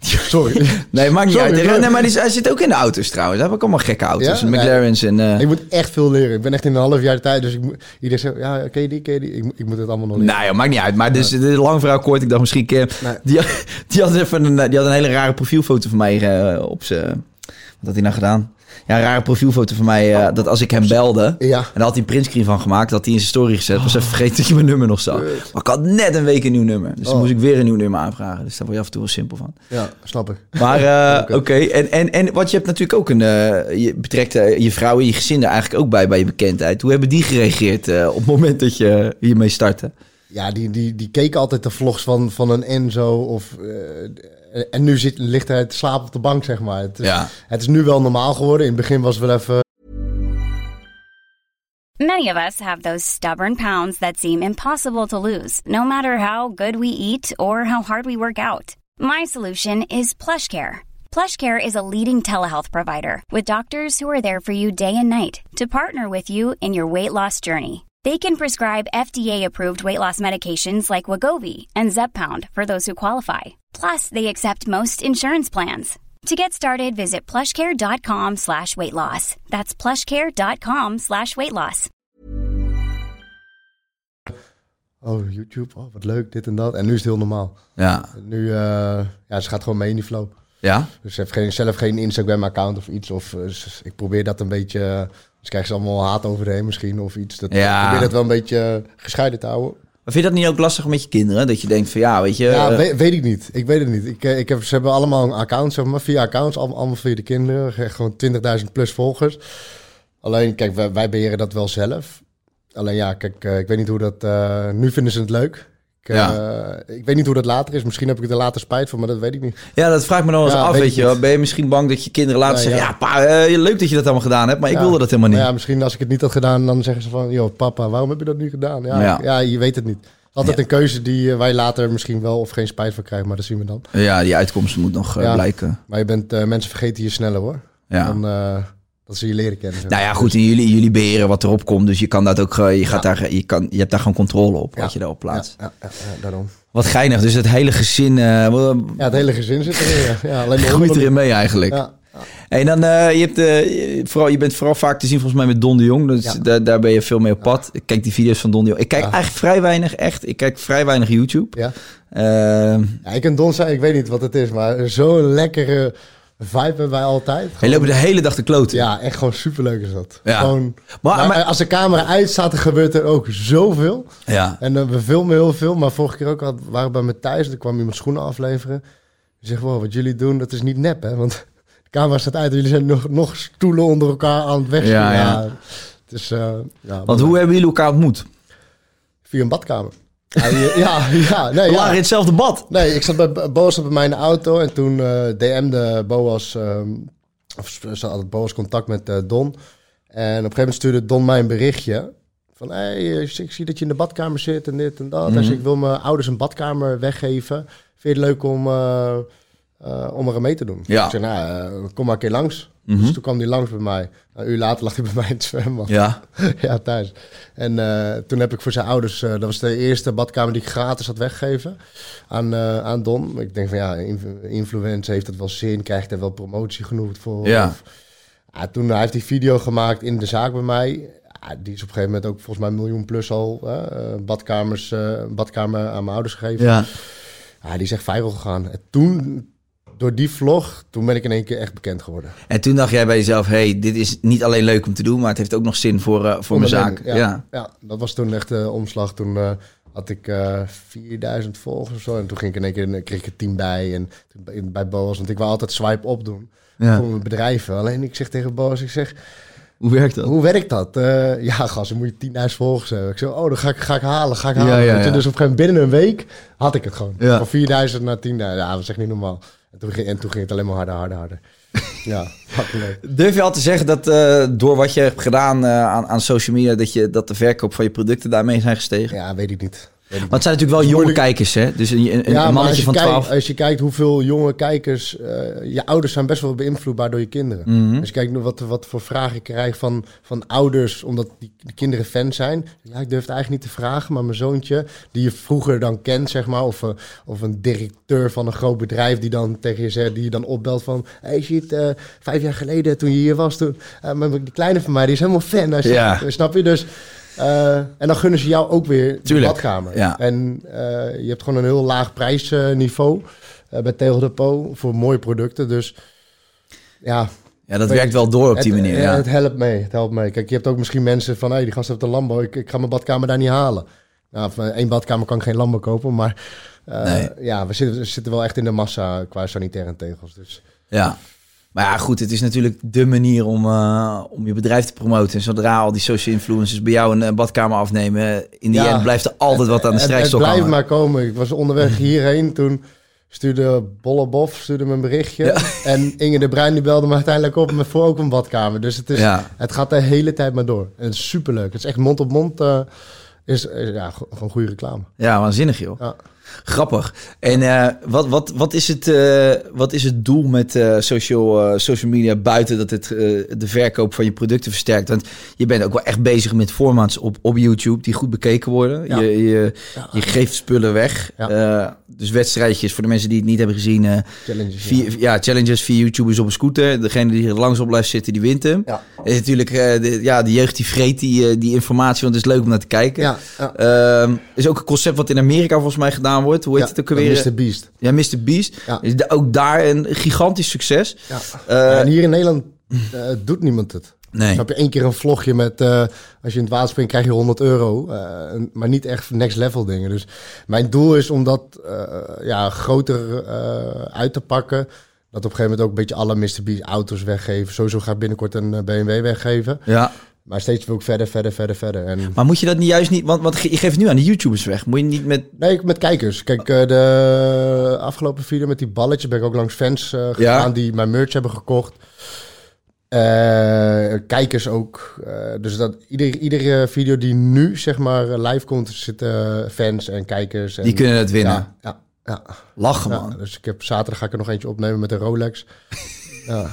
sorry.
Nee, maakt niet
Sorry,
uit.
sorry.
Nee, maar die, hij zit ook in de auto's trouwens. Hij heeft ook allemaal gekke auto's.
Ja?
En McLaren's en... eh,
Ik moet echt veel leren. Ik ben echt in een half jaar tijd. Dus ik moet, iedereen zegt, ja, ken je die, ken je die? Ik, moet- ik moet het allemaal nog leren.
Nou ja, maakt niet uit. Maar dus, dit is lang verhaal kort. Ik dacht misschien... keer.
Nee.
Die, die, had even een, eh, die had een hele rare profielfoto van mij eh, op zijn... Wat had hij nou gedaan? Ja, een rare profielfoto van mij. eh, dat als ik hem belde.
Ja.
En daar had hij een printscreen van gemaakt. Dat had hij in zijn story gezet. Was even vergeten dat je mijn nummer nog zag.
Oh,
Maar ik had net een week een nieuw nummer. Dus dan moest ik weer een nieuw nummer aanvragen. Dus daar word je af en toe wel simpel van.
Ja, snap ik.
Maar eh, oké. En, en, en wat je hebt natuurlijk ook een. eh, je betrekt eh, je vrouw en je gezin er eigenlijk ook bij bij je bekendheid. Hoe hebben die gereageerd eh, op het moment dat je hiermee startte?
Ja, die, die, die keken altijd de vlogs van, van een Enzo. Of, eh, en nu zit, ligt hij te slapen op de bank, zeg maar. Het is,
Ja.
het is nu wel normaal geworden. In het begin was het wel even...
Many of us have those stubborn pounds that seem impossible to lose, no matter how good we eat or how hard we work out. My solution is PlushCare. PlushCare is a leading telehealth provider with doctors who are there for you day and night to partner with you in your weight loss journey. They can prescribe FDA-approved weight loss medications like Wagovi and Zepbound for those who qualify. Plus, they accept most insurance plans. To get started, visit plushcare.com slash weight loss. That's plushcare.com slash weight loss.
Oh, YouTube, oh, wat leuk, dit en dat. En nu is het heel normaal.
Ja.
Nu, eh, ja, ze gaat gewoon mee in die flow.
Ja.
Dus ze heeft geen, zelf geen Instagram-account of iets. Of, eh, ze- ik probeer dat een beetje... eh, Anders krijgen ze allemaal haat overheen misschien of iets. Dat,
Ja.
Ik probeer dat wel een beetje eh, gescheiden te houden.
Maar vind je dat niet ook lastig met je kinderen? Dat je denkt van ja, weet je.
Ja,
eh,
weet, weet ik niet. Ik weet het niet. Ik, eh, ik heb, ze hebben allemaal een account, zeg maar, via accounts, allemaal, allemaal via de kinderen. Echt Gewoon 20.000 plus volgers. Alleen, kijk, wij, wij beheren dat wel zelf. Alleen ja, kijk, eh, ik weet niet hoe dat... eh, nu vinden ze het leuk. Ik, eh, ik weet niet hoe dat later is. Misschien heb ik er later spijt van, maar dat weet ik niet.
Ja, dat vraagt me nog eens
Ja,
af,
weet
weet,
ik
je wel.
niet.
Ben je misschien bang dat je kinderen later
Ja,
zeggen... Ja,
ja.
pa, eh, leuk dat je dat allemaal gedaan hebt, maar ik
Ja.
wilde dat helemaal niet.
Maar ja, misschien als ik het niet had gedaan, dan zeggen ze van... joh, papa, waarom heb je dat nu gedaan? Ja,
Ja.
ja. je weet het niet. Altijd een keuze die eh, wij later misschien wel of geen spijt van krijgen, maar dat zien we dan.
ja. die uitkomst moet nog eh,
Ja.
blijken.
Maar je bent, eh, mensen vergeten je sneller, hoor.
Ja.
Dan, eh, dat ze je leren kennen. zeg
nou ja,
maar.
goed, en jullie, jullie beheren wat erop komt. Dus je kan dat ook, eh, je, gaat daar, je, kan, je hebt daar gewoon controle op, wat je daarop plaatst.
Ja, ja, ja, daarom.
Wat geinig, dus het hele gezin eh, wel,
Ja, het hele gezin zit erin. ja. Ja, alleen maar
groeit erin mee eigenlijk.
Ja,
En dan, eh, je, hebt, eh, vooral, je bent vooral vaak te zien volgens mij met Don de Jong. Dus
Ja.
daar, daar ben je veel mee op pad. Ik kijk die video's van Don de Jong. Ik kijk eigenlijk vrij weinig, echt. Ik kijk vrij weinig YouTube.
ja.
Ehm,
ja, ik en Don zijn, ik weet niet wat het is, maar zo'n lekkere vibe hebben wij altijd.
Hij loopt de hele dag te kloten.
Ja, echt gewoon superleuk is dat.
Ja.
Gewoon,
Maar-
maar, eh,
maar-
als de camera uit staat, er gebeurt er ook zoveel.
Ja.
En eh, we filmen heel veel, maar vorige keer ook had, waren we bij Matthijs, er kwam iemand schoenen afleveren. Die zegt, wow, wat jullie doen, dat is niet nep, hè? Want de camera staat uit en jullie zijn nog, nog stoelen onder elkaar aan het weg.
Ja, ja.
Het is, eh, ja,
Want hoe hebben jullie elkaar ontmoet?
Via een badkamer. Ja, ja, ja, nee,
We
ja.
lagen in hetzelfde bad.
Nee, ik zat bij Boas bij mij in de auto en toen eh, DM'de Boas, ehm, of ze ze had Boas contact met eh, Don. En op een gegeven moment stuurde Don mij een berichtje. Van, hé, hey, eh, ik zie- ik zie dat je in de badkamer zit en dit en dat. Hij
Mhm.
zei, ik wil mijn ouders een badkamer weggeven. Vind je het leuk om, eh, eh, om er mee te doen?
Ja. Mhm.
Ik zei, nou, eh, kom maar een keer langs. Dus toen kwam hij langs bij mij. Nou, Een uur later lag hij bij mij in het zwembad
Ja.
ja, thuis. En eh, toen heb ik voor zijn ouders, eh, dat was de eerste badkamer die ik gratis had weggegeven aan, eh, aan Don. Ik denk van ja, inf- influencer heeft dat wel zin, krijgt er wel promotie genoeg voor.
Ja.
Of- ja, toen hij heeft die video gemaakt in de zaak bij mij. Ja, die is op een gegeven moment ook volgens mij een miljoen plus al eh, eh, badkamers, eh, een badkamer aan mijn ouders gegeven.
Ja.
Ja, die is echt viral gegaan. En toen, door die vlog, toen ben ik in één keer echt bekend geworden.
En toen dacht jij bij jezelf, hey, dit is niet alleen leuk om te doen, maar het heeft ook nog zin voor, eh, voor mijn zaak. Ja.
Ja, ja. dat was toen echt de omslag. Toen eh, had ik eh 4000 volgers of zo. En toen ging ik in één keer, eh, kreeg ik er 10 bij. En toen bij- bij Boas, want ik wou altijd swipe op doen.
Ja.
Voor mijn bedrijven. Alleen ik zeg tegen Boas, ik zeg,
Hoe werkt dat?
hoe werkt dat? Eh, ja, gast, dan moet je 10.000 volgers hebben. Ik zeg, oh, dan ga ik, ga ik halen, ga ik
Ja,
halen.
ja,
Weet je,
ja.
Dus op een gegeven moment binnen een week had ik het gewoon.
Ja.
Van 4000 naar 10.000. Ja, dat is echt niet normaal. En toen, ging- en toen ging het alleen maar harder, harder, harder. ja, fucking leuk.
Durf je al te zeggen dat eh, door wat je hebt gedaan eh, aan, aan social media, dat, je, dat de verkoop van je producten daarmee zijn gestegen?
Ja, weet ik niet. Weet ik
Maar het zijn natuurlijk wel jonge
Moeilijk.
kijkers, hè? Dus een, een, een
maar als
mannetje
je
van
kijkt- eh,
12.
Als je kijkt hoeveel jonge kijkers... eh, je ouders zijn best wel beïnvloedbaar door je kinderen.
Mhm.
Als je kijkt naar wat, wat voor vragen ik krijg van, van ouders... omdat die, die kinderen fan zijn. Ja, ik durf het eigenlijk niet te vragen, maar mijn zoontje... die je vroeger dan kent, zeg maar... of, eh, of een directeur van een groot bedrijf die dan tegen je zegt... die je dan opbelt van... Hé, hey, shit, eh, vijf jaar geleden toen je hier was... toen eh, maar die kleine van mij, die is helemaal fan. Hij zegt,
Ja.
Snap je? Dus... eh, en dan gunnen ze jou ook weer de
Tuurlijk,
badkamer.
ja.
En eh, je hebt gewoon een heel laag prijsniveau eh bij Tegel Depot voor mooie producten. Dus ja,
Ja, dat werkt wel door op die
Het-
manier.
eh,
ja.
Het helpt mee, het helpt mee. Kijk, je hebt ook misschien mensen van, hey, die gast heeft een Lambo, ik, ik ga mijn badkamer daar niet halen. Nou, van één badkamer kan ik geen Lambo kopen, maar eh,
Nee.
ja, we zitten, we zitten wel echt in de massa qua sanitaire tegels. Dus
Ja. Maar ja, goed, het is natuurlijk de manier om, eh, om je bedrijf te promoten. En zodra al die social influencers bij jou een eh, badkamer afnemen, in die
Ja.
end blijft er altijd wat aan de
het, het
strijkstok
blijft
hangen.
maar komen. Ik was onderweg hierheen toen stuurde Bollebof stuurde me een berichtje en Inge de Bruin die belde me uiteindelijk op met voor ook een badkamer. Dus het, is,
Ja.
het gaat de hele tijd maar door. En het is superleuk. Het is echt mond op mond. eh, is, is, ja, go- gewoon goede reclame.
Ja, waanzinnig joh.
Ja.
Grappig. En eh, wat, wat, wat, is het, eh, wat is het doel met eh, social, eh, social media buiten dat het eh, de verkoop van je producten versterkt? Want je bent ook wel echt bezig met formats op, op YouTube die goed bekeken worden.
Ja.
Je, je, je geeft spullen weg.
Ja.
Eh, dus wedstrijdjes voor de mensen die het niet hebben gezien. eh,
Challenges,
vier- ja. challenges, vier YouTubers op een scooter. Degene die er langs op blijft zitten, die wint hem.
Ja.
En natuurlijk, eh, de, ja, de jeugd die vreet die, eh, die informatie, want het is leuk om naar te kijken.
Ja, ja.
Ehm, is ook een concept wat in Amerika volgens mij gedaan wordt. Hoe heet
Ja,
het ook alweer?
Mr. Beast.
Ja, Mr. Beast.
Ja.
Is da- ook daar een gigantisch succes.
Ja.
Eh,
en hier in Nederland eh, doet niemand het.
Nee.
Dus heb je één keer een vlogje met, eh, als je in het water springt krijg je 100 euro. eh, en- maar niet echt next level dingen. Dus mijn doel is om dat eh, ja, groter eh, uit te pakken. Dat op een gegeven moment ook een beetje alle Mr. Beast auto's weggeven. Sowieso ga ik binnenkort een eh, BMW weggeven.
ja.
Maar steeds wil ik verder, verder, verder, verder. En
Maar moet je dat niet juist niet... Want, want ge- je geeft het nu aan de YouTubers weg. Moet je niet met...
Nee, ik- met kijkers. Kijk, eh, de afgelopen video met die balletjes ben ik ook langs fans eh, gegaan
Ja.
die mijn merch hebben gekocht. Eh, kijkers ook. Eh, dus dat ieder, iedere video die nu zeg maar live komt, zitten fans en kijkers. En,
Die kunnen het winnen.
Ja, ja, ja,
Lachen,
ja.
man.
Dus ik heb zaterdag ga ik er nog eentje opnemen met een Rolex. ja.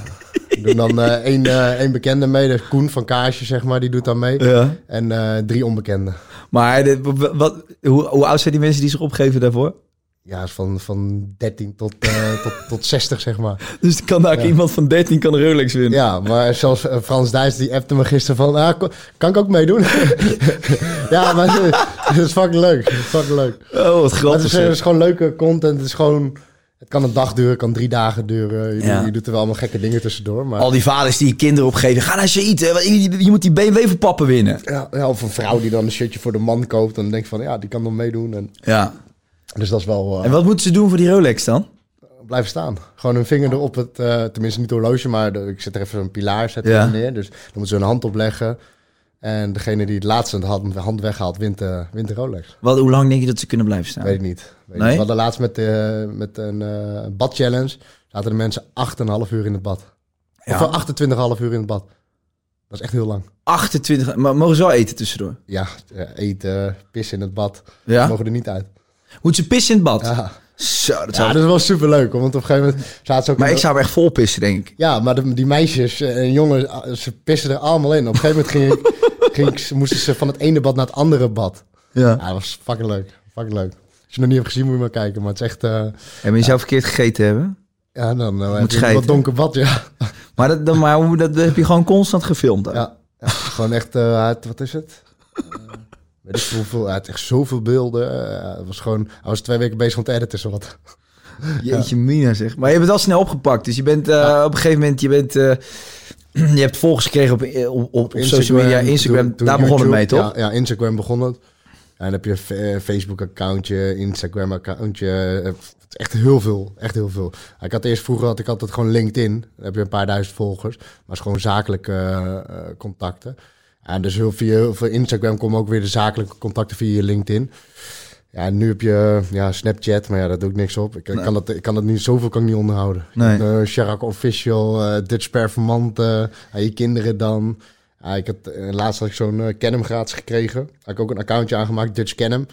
Ik doe dan eh één, eh, één bekende mee, de Koen van Kaasje, zeg maar, die doet dan mee.
Ja.
En eh, drie onbekenden.
Maar de- w- wat, hoe, hoe oud zijn die mensen die zich opgeven daarvoor?
Ja, is van, van 13 tot, eh, tot, tot 60, zeg maar.
Dus kan daar iemand van 13 kan Rolex winnen.
Ja, maar zelfs eh, Frans Dijs die appte me gisteren van... Ah, ko- kan ik ook meedoen? ja, maar het is fucking leuk. Het is fucking leuk.
Oh, wat
Maar het, is,
grappig.
eh, het
zeg.
is gewoon leuke content. Het, is gewoon, het kan een dag duren, het kan drie dagen duren. Je,
Ja.
doet, je doet er wel allemaal gekke dingen tussendoor. Maar,
Al die vaders die je kinderen opgeven. Ga naar Saïd. hè, want Je, je moet die BMW voor pappen winnen.
ja, ja, of een vrouw die dan een shirtje voor de man koopt... en dan denk je van, ja, die kan dan meedoen. En,
Ja.
dus dat is wel... eh,
En wat moeten ze doen voor die Rolex dan?
blijven staan. Gewoon hun
Oh.
vinger erop het, eh, tenminste niet horloge, maar de- ik zet er even een pilaar zet
Ja.
er neer. Dus dan moeten ze hun hand op leggen. En degene die het laatste de hand, de hand weghaalt, wint, eh, wint de Rolex.
Wat, hoe lang denk je dat ze kunnen blijven staan?
Weet ik niet. Weet ik
Nee?
niet. We hadden laatst met, eh, met een eh badchallenge, zaten de mensen 8,5 uur in het bad.
Ja.
Of 28,5 uur in het bad. Dat is echt heel lang.
28, maar mogen ze wel eten tussendoor?
Ja, eh, eten, pissen in het bad.
Ja?
We mogen er niet uit.
Moeten ze pissen in het bad?
Ja,
Zo, dat
ja
zou...
dat is wel superleuk. hoor, Want op een gegeven moment zaten ze ook...
Maar
in
ik
de-
zou hem echt vol pissen, denk ik.
Ja, maar de- die meisjes en jongens, ah, ze pissen er allemaal in. Op een gegeven moment ging ik, ging ik, moesten ze van het ene bad naar het andere bad. Ja, dat was fucking leuk. Fucking leuk. Als je het nog niet hebt gezien, moet je maar kijken. Maar het is echt... eh,
En je zou verkeerd gegeten hebben.
ja, dan eh, heb je een
schijten.
wat donker bad, ja.
Maar dat, dan, maar hoe- dat, dat heb je gewoon constant gefilmd. dan.
ja, ja, gewoon echt... eh, het- wat is het? Eh, weet ik veel hoeveel. Hij had echt zoveel beelden. Eh, het was gewoon... Hij was twee weken bezig om te editen, zowat.
Jeetje mina zeg. Maar je hebt het al snel opgepakt. Dus je bent eh, op een gegeven moment... Je, bent, eh, je hebt volgers gekregen op, eh, op, op, op social media. Instagram,
toen- toen
daar begon het
YouTube.
mee, toch?
Ja, ja, Instagram begon het. En dan heb je eh, een Facebook-accountje, Instagram-accountje. Het is eh, Echt heel veel, echt heel veel. Ik had eerst vroeger had ik altijd gewoon LinkedIn. Dan heb je een paar duizend volgers. Maar het is gewoon zakelijke eh, eh, contacten. En dus heel, via, heel veel Instagram komen ook weer de zakelijke contacten via je LinkedIn. Ja, en nu heb je eh, ja, Snapchat, maar ja, daar doe ik niks op. Ik, ik kan, dat, ik kan dat niet, zoveel kan ik niet onderhouden.
Nee.
Eh, Shark Official, eh, Dutch Performant, eh, aan je kinderen dan. Ja, ik had, eh, laatst had ik zo'n eh Canem gratis gekregen. Had ik ook een accountje aangemaakt, Dutch Canem.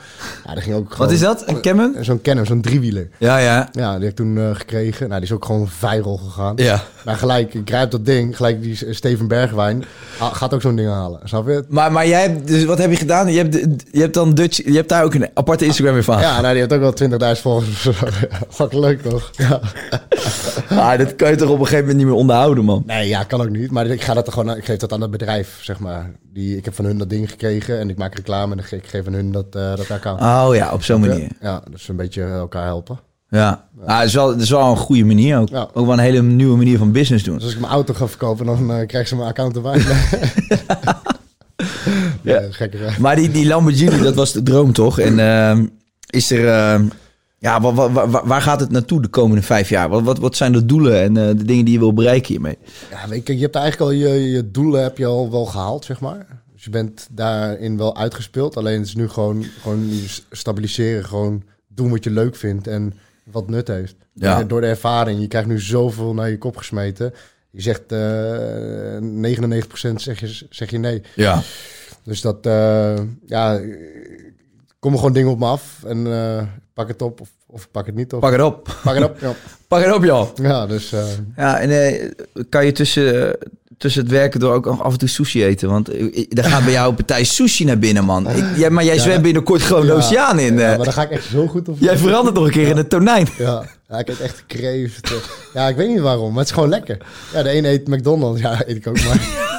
Ja, daar ging ook gewoon,
Wat is dat? Een Canon?
Zo'n Canem, zo'n driewieler.
Ja, ja.
Ja, die heb ik toen eh, gekregen. Nou, die is ook gewoon viral gegaan.
Ja.
Maar gelijk, ik grijp dat ding, gelijk die eh, Steven Bergwijn, ah, gaat ook zo'n ding halen. Snap je het?
Maar, maar jij hebt, dus wat heb je gedaan? Je hebt, de- je hebt, dan Dutch, je hebt daar ook een aparte Instagram weer van.
Ja, nou, die heeft ook wel 20.000 volgers. Fucking leuk toch? Ja.
Ah, dat kan je toch op een gegeven moment niet meer onderhouden, man.
Nee, ja, kan ook niet. Maar ik, ga dat er gewoon, ik geef dat aan het bedrijf, zeg maar. Die, ik heb van hun dat ding gekregen en ik maak
Ah,
reclame en ik ge- ik geef aan hun dat, eh dat account.
Oh ja, op zo'n manier.
Ja, dus een beetje elkaar helpen.
Ja. Ja, Ah, het, is wel, het is wel een goede manier ook.
Ja.
Ook wel een hele nieuwe manier van business doen.
Dus als ik mijn auto ga verkopen, dan eh, krijgen ze mijn account erbij. Nee.
Ja.
ja, gekker. hè?
Maar die, die Lamborghini, dat was de droom toch? En ehm, is er... ehm, ja, wa- wa- wa- waar gaat het naartoe de komende vijf jaar? Wat, wat, wat zijn de doelen en eh, de dingen die je wil bereiken hiermee?
Ja, weet je, je hebt eigenlijk al je, je doelen heb je al wel gehaald, zeg maar. Dus je bent daarin wel uitgespeeld. Alleen het is nu gewoon, gewoon stabiliseren. Gewoon doen wat je leuk vindt en wat nut heeft.
Ja.
En Door de ervaring. Je krijgt nu zoveel naar je kop gesmeten. Je zegt eh 99% zeg je, zeg je nee.
Ja.
Dus dat, eh, ja, eh, komen gewoon dingen op me af. En eh, pak het op of, of ik pak het niet op.
Pak het op.
Pak het op, ja.
Pak het op, joh.
Ja, dus... eh,
Ja, en eh, kan je tussen, tussen het werken door ook nog af en toe sushi eten? Want eh, er gaat bij jou een partij sushi naar binnen, man. Ik- jij, maar jij zwemt binnenkort gewoon de
ja.
oceaan in.
Ja,
eh.
maar daar ga ik echt zo goed op.
jij verandert nog een keer in het tonijn.
Ja, ja, ik eet echt kreeft. Ja, ik weet niet waarom, maar het is gewoon lekker. Ja, de een eet McDonald's, ja, eet ik ook maar.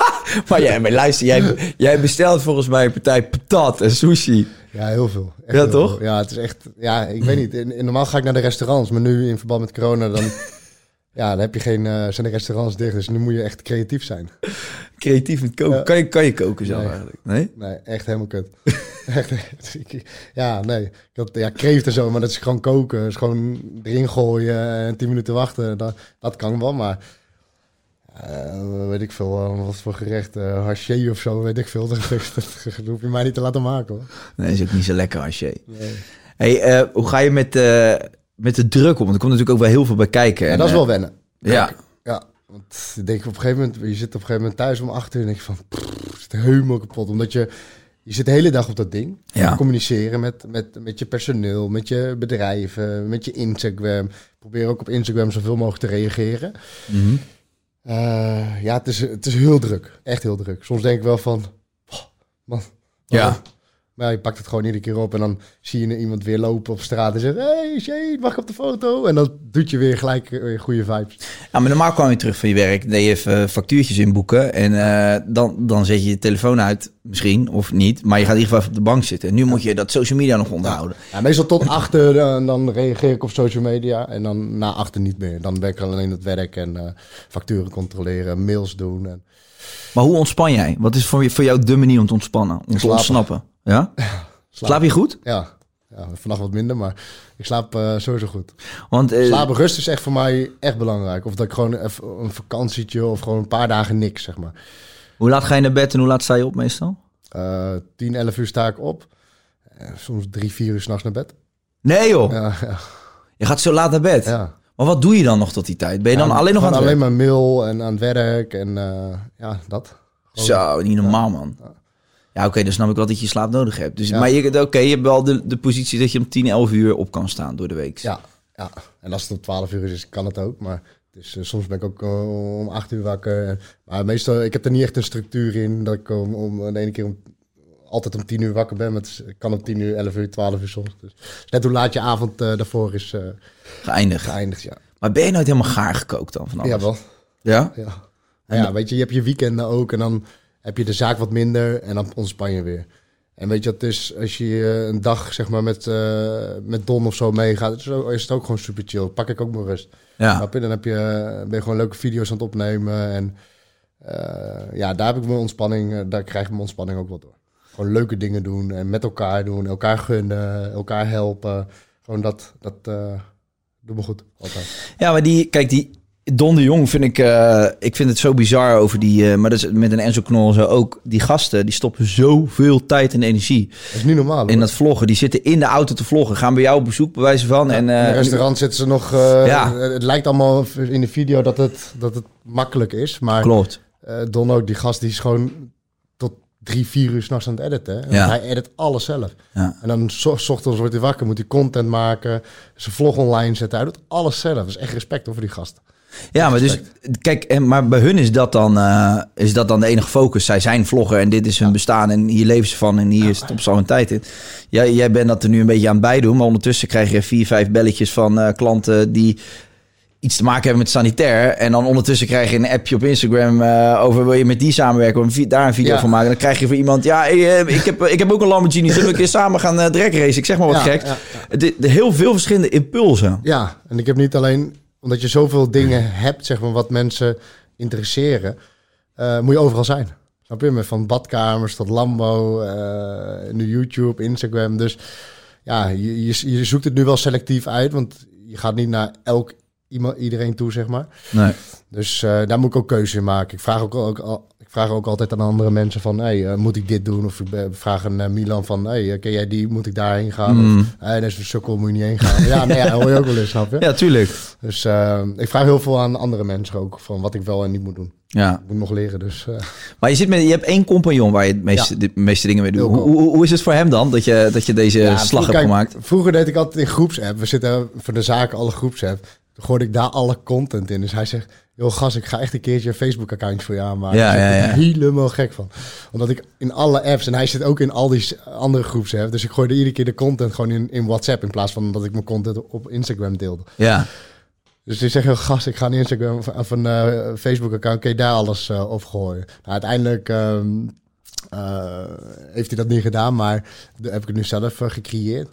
Maar, jij, maar luister, jij, jij bestelt volgens mij een partij patat en sushi.
Ja, heel veel. Echt
Ja,
heel
toch?
veel. Ja, het is echt, ja, ik weet niet. In, in- normaal ga ik naar de restaurants, maar nu in verband met corona, dan, ja, dan heb je geen, eh, zijn de restaurants dicht. Dus nu moet je echt creatief zijn.
Creatief met koken. Kan, je, kan je koken zelf eigenlijk? Nee?
Nee, echt helemaal kut. echt, ik- ja, nee. Dat, ja, kreeft en zo, maar dat is gewoon koken. Dat is gewoon erin gooien en tien minuten wachten. Dat, dat kan wel, maar... eh, weet ik veel, eh, wat voor gerecht, eh haché of zo, weet ik veel. Dat, dat hoef je mij niet te laten maken, hoor.
Nee, is ook niet zo lekker als je. Hey, eh, hoe ga je met, eh, met de druk om? Want er komt natuurlijk ook wel heel veel bij kijken.
En dat is
eh,
wel wennen.
Ja.
Ja, want ik denk op een gegeven moment, je zit op een gegeven moment thuis om acht uur en denk je van, pff, het is helemaal kapot. Omdat je, je zit de hele dag op dat ding.
Ja.
Communiceren met, met, met je personeel, met je bedrijven, met je Instagram. Probeer ook op Instagram zoveel mogelijk te reageren. Eh, ja, het is, het is heel druk. Echt heel druk. Soms denk ik wel van, oh, man.
Ja.
Maar ja, je pakt het gewoon iedere keer op en dan zie je iemand weer lopen op straat en zegt... Hey, Shane, mag ik op de foto? En dan doet je weer gelijk eh, weer goede vibes.
Ja, maar normaal kwam je terug van je werk, deed je even eh, factuurtjes inboeken en eh, dan, dan zet je je telefoon uit, misschien of niet, maar je gaat in ieder geval even op de bank zitten. En nu moet je dat social media nog onthouden.
Ja, meestal tot achter, eh, dan reageer ik op social media. En dan na achter niet meer. Dan ben ik alleen het werk en eh, facturen controleren, mails doen. En,
Maar hoe ontspan jij? Wat is voor, je- voor jou de manier om te ontspannen, om te
Slapen.
ontsnappen? Ja? Slaap je goed?
ja, ja, vannacht wat minder, maar ik slaap eh, sowieso goed.
Want eh,
Slapen rust is echt voor mij echt belangrijk. Of dat ik gewoon even een vakantietje of gewoon een paar dagen niks, zeg maar.
hoe laat ga je naar bed en hoe laat sta je op meestal?
Eh 10, 11 uur sta ik op. Eh, soms drie, vier uur s'nachts naar bed.
Nee joh,
Ja, ja,
je gaat zo laat naar bed.
ja.
Maar wat doe je dan nog tot die tijd? Ben je dan alleen nog aan
Gewoon
het
alleen
werk?
maar mail en aan het werk en eh, ja, dat.
Zo, niet normaal man. Ja oké, dan snap ik wel dat je slaap nodig hebt. Dus, Maar je, oké, je hebt wel de, de positie dat je om 10, 11 uur op kan staan door de week.
Ja, ja. En als het om 12 uur is, kan het ook. Maar het is, eh, soms ben ik ook eh, om 8 uur wakker. Maar meestal, ik heb er niet echt een structuur in dat ik om, om de ene keer om, altijd om 10 uur wakker ben. Maar het is- ik kan om 10 uur, 11 uur, 12 uur soms. Dus net hoe laat je avond eh, daarvoor is eh,
Geëindigd.
geëindigd. Ja,
Maar ben je nooit helemaal gaar gekookt dan van alles?
ja wel.
Ja?
Ja. Nou ja, weet je, je hebt je weekenden ook en dan heb je de zaak wat minder en dan ontspan je weer. En weet je, dat is als je eh, een dag zeg maar met, eh, met Don of zo meegaat, is het ook- is het ook gewoon super chill. Pak ik ook mijn rust.
Ja.
Snap je? Dan heb je, ben je gewoon leuke video's aan het opnemen en eh, ja, daar heb ik mijn ontspanning, eh, daar krijg ik mijn ontspanning ook wel door. Gewoon leuke dingen doen en met elkaar doen, elkaar gunnen, elkaar helpen. Gewoon dat, dat eh doet me goed altijd.
Ja, maar die, kijk, die Don de Jong vind ik, eh, ik vind het zo bizar over die, eh, maar dat is met een Enzo Knol en zo ook. Die gasten, die stoppen zoveel tijd en energie
Dat is niet normaal.
in
hoor.
dat vloggen. Die zitten in de auto te vloggen, gaan bij jou op bezoek, bij wijze van. en, eh,
in een restaurant zitten ze nog. eh,
Ja.
het, het lijkt allemaal in de video dat het, dat het makkelijk is. Maar
Klopt.
eh, Don ook, die gast, die is gewoon tot drie, vier uur s'nachts aan het editen. hè. Want
Ja.
Hij edit alles zelf.
Ja.
En dan zo, 's ochtends wordt hij wakker, moet hij content maken, zijn vlog online zetten. Hij doet alles zelf. Dat is echt respect over die gasten.
Ja, maar dus, kijk, en, maar bij hun is dat, dan, eh, is dat dan de enige focus. Zij zijn vlogger en dit is hun bestaan en hier leven ze van en hier stopt ze al hun tijd in. Jij, jij bent dat er nu een beetje aan het bijdoen, maar ondertussen krijg je vier, vijf belletjes van eh, klanten die iets te maken hebben met sanitair. En dan ondertussen krijg je een appje op Instagram eh, over wil je met die samenwerken, wil je vi- daar een video
Ja.
van maken. Dan krijg je van iemand, ja, ik, eh, ik, heb, ik heb ook een Lamborghini, zullen we een keer samen gaan eh drag racen? Ik zeg maar wat
Ja,
gek.
ja,
De, de heel veel verschillende impulsen.
Ja, en ik heb niet alleen, omdat je zoveel dingen hebt, zeg maar, wat mensen interesseren, eh, moet je overal zijn. Snap je? Met Van badkamers tot Lambo, eh, nu YouTube, Instagram. Dus ja, je, je, je zoekt het nu wel selectief uit, want je gaat niet naar elk iemand, iedereen toe, zeg maar.
Nee.
Dus eh, daar moet ik ook keuze in maken. Ik vraag ook, ook al, ik vraag ook altijd aan andere mensen van, hey, eh, moet ik dit doen? Of ik be- vraag aan eh, Milan van, hey, eh, ken jij die? Moet ik daarheen gaan? Of, hey, dat is een sukkel, moet je niet heen gaan. ja, nee, ja, hoor je ook wel eens, snap je?
Ja, tuurlijk.
Dus eh, ik vraag heel veel aan andere mensen ook, van wat ik wel en niet moet doen.
Ja.
Ik moet nog leren, dus... eh,
Maar je, zit met, je hebt één compagnon waar je de meeste,
Ja.
de meeste dingen mee doet.
Wilco.
Hoe, hoe, hoe is het voor hem dan dat je, dat je deze
ja,
slag hebt
kijk,
gemaakt?
Vroeger deed ik altijd in groepsapp. We zitten voor de zaken alle groepsapp. Toen gooide ik daar alle content in. Dus hij zegt, joh gast, ik ga echt een keertje een Facebook-account voor je aanmaken.
Ja,
Daar zit
ja,
ik
ja.
helemaal gek van. Omdat ik in alle apps, en hij zit ook in al die s- andere groepsapp. Dus ik gooide iedere keer de content gewoon in, in WhatsApp. In plaats van dat ik mijn content op Instagram deelde.
Ja.
Dus die zeggen, gast, ik ga een Instagram of, of een eh, Facebook-account, kun je daar alles eh, op gooien? Nou, uiteindelijk ehm, eh, heeft hij dat niet gedaan, maar daar heb ik het nu zelf eh, gecreëerd.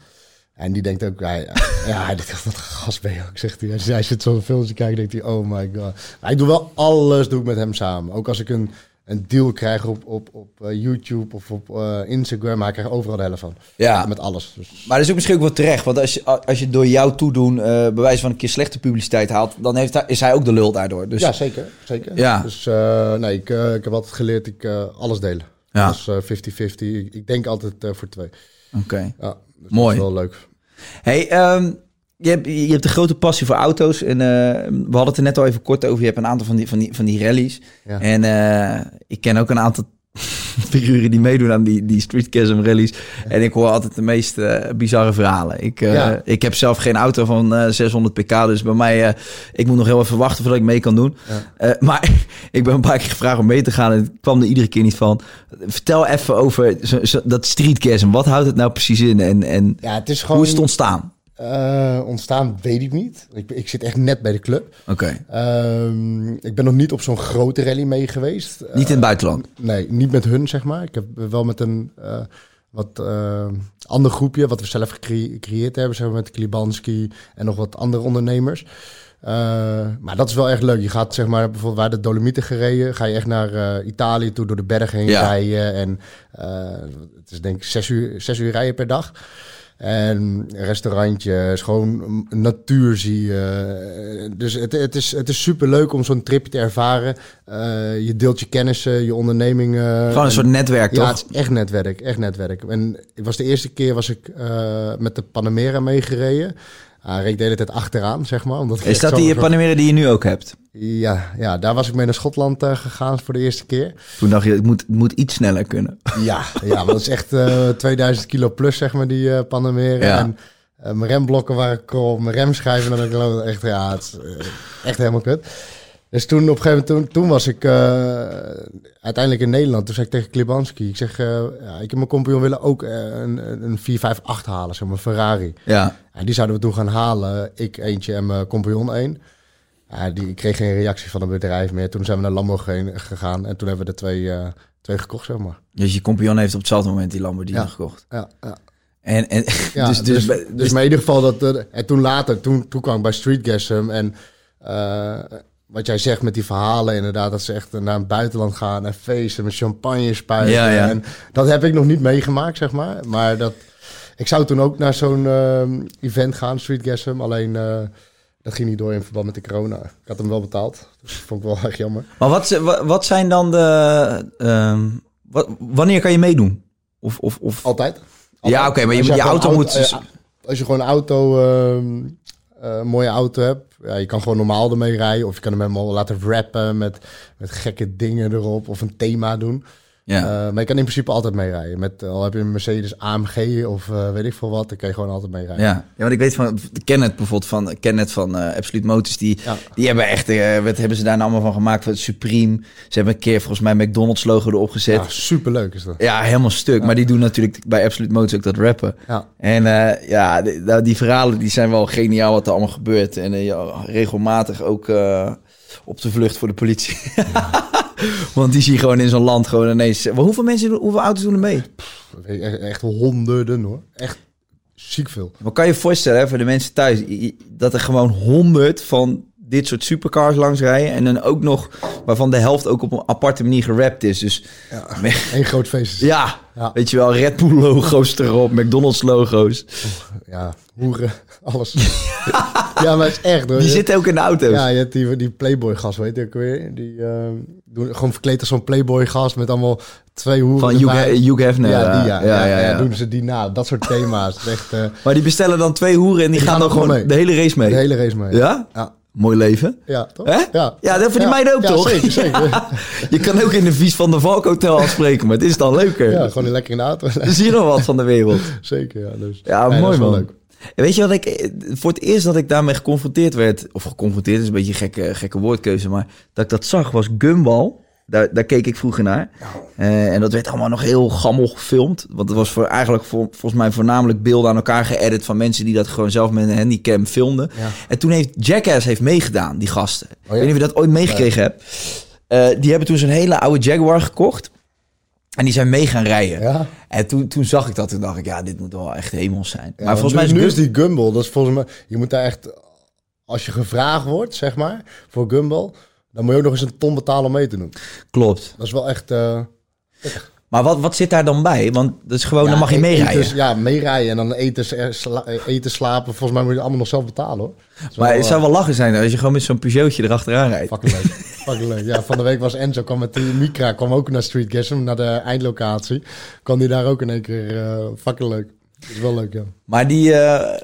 En die denkt ook, hij, ja, hij denkt, wat een gast ben je ook, zegt hij. Hij, hij zit zo'n filmpje te kijken, denkt hij, oh my god. Maar ik doe wel alles doe ik met hem samen. Ook als ik een, een deal krijg op, op, op eh, YouTube of op eh, Instagram, hij krijgt overal de helft van.
Ja.
Met alles. Dus,
Maar dat is ook misschien ook wel terecht. Want als je, als je door jouw toedoen eh bewijs van een keer slechte publiciteit haalt, dan heeft hij, is hij ook de lul daardoor. Dus,
ja, zeker. zeker.
Ja.
Dus eh, nee, ik, eh, ik heb altijd geleerd, ik eh, alles delen.
Ja.
Dus eh, 50-50. Ik ik denk altijd eh, voor twee.
Oké.
Ja, dus
Mooi.
Dat is wel leuk.
Hey, ehm, je, hebt, je hebt een grote passie voor auto's. En eh, we hadden het er net al even kort over. Je hebt een aantal van die, van die, van die rallies.
Ja.
En eh, ik ken ook een aantal figuren die meedoen aan die, die streetcasm rallies. En ik hoor altijd de meest eh, bizarre verhalen. Ik, eh,
Ja.
ik heb zelf geen auto van eh, 600 pk. Dus bij mij, eh, ik moet nog heel even wachten voordat ik mee kan doen. Eh, maar ik ben een paar keer gevraagd om mee te gaan. En het kwam er iedere keer niet van. Vertel even over zo- zo- dat streetcasm. Wat houdt het nou precies in? En, en
Ja, het is gewoon...
hoe is het ontstaan?
eh, ontstaan weet ik niet. Ik, ik zit echt net bij de club.
Oké.
Ehm, ik ben nog niet op zo'n grote rally mee geweest. Eh,
Niet in het buitenland.
nee, niet met hun, zeg maar. Ik heb wel met een eh, wat eh, ander groepje, wat we zelf gecre- gecreëerd hebben, zeg maar, met Klibanski en nog wat andere ondernemers. Eh, maar dat is wel echt leuk. Je gaat zeg maar bijvoorbeeld waar de Dolomieten gereden, ga je echt naar eh, Italië toe door de bergen heen
Ja.
rijden. En eh, het is denk ik zes uur, zes uur rijden per dag. En restaurantjes, gewoon natuur zie je. Dus het, het, is, het is super leuk om zo'n tripje te ervaren. Eh, je deelt je kennissen, je ondernemingen.
Gewoon een soort netwerk,
eh, Ja,
toch?
het is echt netwerk, echt netwerk. En ik was de eerste keer was ik eh, met de Panamera meegereden. Hij reed de hele tijd achteraan, zeg maar. Omdat ik
Is
echt
dat
zo'n-
die Panamera die je nu ook hebt?
Ja, ja, daar was ik mee naar Schotland eh, gegaan voor de eerste keer.
Toen dacht je, het moet, het moet iets sneller kunnen.
Ja, ja maar dat is echt eh, 2000 kilo plus, zeg maar, die eh Panamera.
Ja.
En eh, mijn remblokken waren krom, mijn remschijven. En dan denk ik oh, echt, ja, het is eh, echt helemaal kut. Dus toen op een gegeven moment, toen, toen was ik eh, uiteindelijk in Nederland. Toen zei ik tegen Klibanski, ik zeg, eh, ja, ik en mijn compagnon willen ook eh, een, een 458 halen, zeg maar, Ferrari.
Ja.
En die zouden we toen gaan halen. Ik eentje en mijn compagnon één. Ja, die, ik kreeg geen reactie van het bedrijf meer. Toen zijn we naar Lambo ge- gegaan en toen hebben we er twee, eh, twee gekocht, zeg maar.
Dus je compagnon heeft op hetzelfde moment die Lamborghini
Ja.
gekocht.
Ja, ja.
En, en,
Ja,
dus, dus, dus,
maar in ieder geval dat. eh, en toen later, toen, toen kwam ik bij Streetgasm. En eh, wat jij zegt met die verhalen, inderdaad, dat ze echt naar het buitenland gaan en feesten met champagne spuiten.
Ja, ja.
En dat heb ik nog niet meegemaakt, zeg maar. Maar dat. Ik zou toen ook naar zo'n ehm, event gaan, Streetgasm. Alleen eh, dat ging niet door in verband met de corona. Ik had hem wel betaald. Dus dat vond ik wel erg jammer.
maar wat, z- wa- wat zijn dan de... ehm, wat, wanneer kan je meedoen? Of, of, of,
Altijd.
Ja,
Altijd.
oké, maar je
Als jij
moet- je
gewoon
auto moet-
eh, als je gewoon een auto, ehm, eh, een mooie auto hebt, ja, je kan gewoon normaal ermee rijden. Of je kan hem helemaal laten rappen met, met gekke dingen erop. Of een thema doen.
Ja.
Eh, maar je kan in principe altijd meerijden. Met, eh, al heb je een Mercedes AMG of eh, weet ik veel wat, dan kan je gewoon altijd meerijden.
Ja. ja, want ik weet van Kenneth bijvoorbeeld van Kenneth van eh Absolute Motors. Die,
Ja.
die hebben echt, eh, wat hebben ze daar nou allemaal van gemaakt? Van Supreme. Ze hebben een keer volgens mij McDonald's logo erop gezet.
Ja,
Ja,
Ah, superleuk is dat.
helemaal stuk. Maar die doen natuurlijk bij Absolute Motors ook dat rappen.
Ja.
En eh, ja, die, nou, die verhalen die zijn wel geniaal wat er allemaal gebeurt. En eh, ja, regelmatig ook eh, op de vlucht voor de politie. Want die zie je gewoon in zo'n land gewoon ineens... Maar hoeveel mensen, doen- hoeveel auto's doen er mee?
Weet je, Echt, echt honderden hoor. Echt ziek veel.
Maar kan je je voorstellen, hè, voor de mensen thuis, i- i- dat er gewoon honderd van dit soort supercars langs rijden. En dan ook nog, waarvan de helft ook op een aparte manier gerapt is. Dus ja,
Eén groot feest. Ja.
ja,
Ja.
weet je wel, Red Bull logo's erop, McDonald's logo's.
hoeren, alles. ja, maar het is echt hoor.
Die
Je-
zitten ook in de auto's.
Ja, je hebt die, die Playboy-gast, weet je ook weer. Die eh, doen gewoon verkleed als zo'n Playboy-gast met allemaal twee hoeren.
Van Hugh
erbij.
He- Hugh Hefner,
Ja, die, ja. Ja, ja,
ja.
doen ze die na. Dat soort thema's. Het is Echt, eh,
Maar die bestellen dan twee hoeren en
Die
die, gaan
gaan
dan
gewoon mee.
gewoon de hele race mee.
de hele race mee.
Ja?
Ja,
Mooi leven.
ja toch?
Hè?
Ja.
ja, dat voor die meiden ook
ja,
toch?
Zeker, zeker.
Ja.
Ja.
Je kan ook in de Vies van der Valk Hotel afspreken, maar het is dan leuker.
gewoon lekker in de auto.
Dus hier nog wat van de wereld.
zeker, ja. Dus,
Ja,
Nee, dat
mooi
is wel
man.
leuk.
En Weet je wat ik... eh, Voor het eerst dat ik daarmee geconfronteerd werd... Of geconfronteerd is een beetje een gekke, gekke woordkeuze, maar... Dat ik dat zag was Gumball. Daar, daar keek ik vroeger naar. Eh, en dat werd allemaal nog heel gammel gefilmd. Want het was voor, eigenlijk voor, volgens mij voornamelijk beelden aan elkaar geëdit... van mensen die dat gewoon zelf met een handicam filmden. En toen heeft Jackass heeft meegedaan, die gasten.
Oh
Ik weet niet of je dat ooit meegekregen hebt. Eh, die hebben toen zo'n hele oude Jaguar gekocht. En die zijn mee gaan rijden.
Ja.
En toen, toen zag ik dat en dacht ik, ja, dit moet wel echt hemels zijn.
Ja,
maar volgens mij
want
is
nu, nu
Gumball-
is die Gumball, dat is volgens mij... Je moet daar echt... Als je gevraagd wordt, zeg maar, voor Gumball... dan moet je ook nog eens een ton betalen om mee te doen.
Klopt.
Dat is wel echt... eh,
Maar wat, wat zit daar dan bij? Want dat is gewoon,
Ja,
dan mag je
e-
meerijden.
etens- ja, meerijden en dan eten, s- eh, sla- eh, eten, slapen. Volgens mij moet je het allemaal nog zelf betalen hoor. Dat is
maar
wel,
het
eh,
zou wel lachen zijn als je gewoon met zo'n Peugeotje erachteraan rijdt.
Fucking leuk. Fucking leuk. Ja, van de week was Enzo, kwam met die Micra, kwam ook naar Street Gasm, naar de eindlocatie. Kwam die daar ook in één keer, eh, fucking leuk. Dat is wel leuk, ja.
Maar die, eh,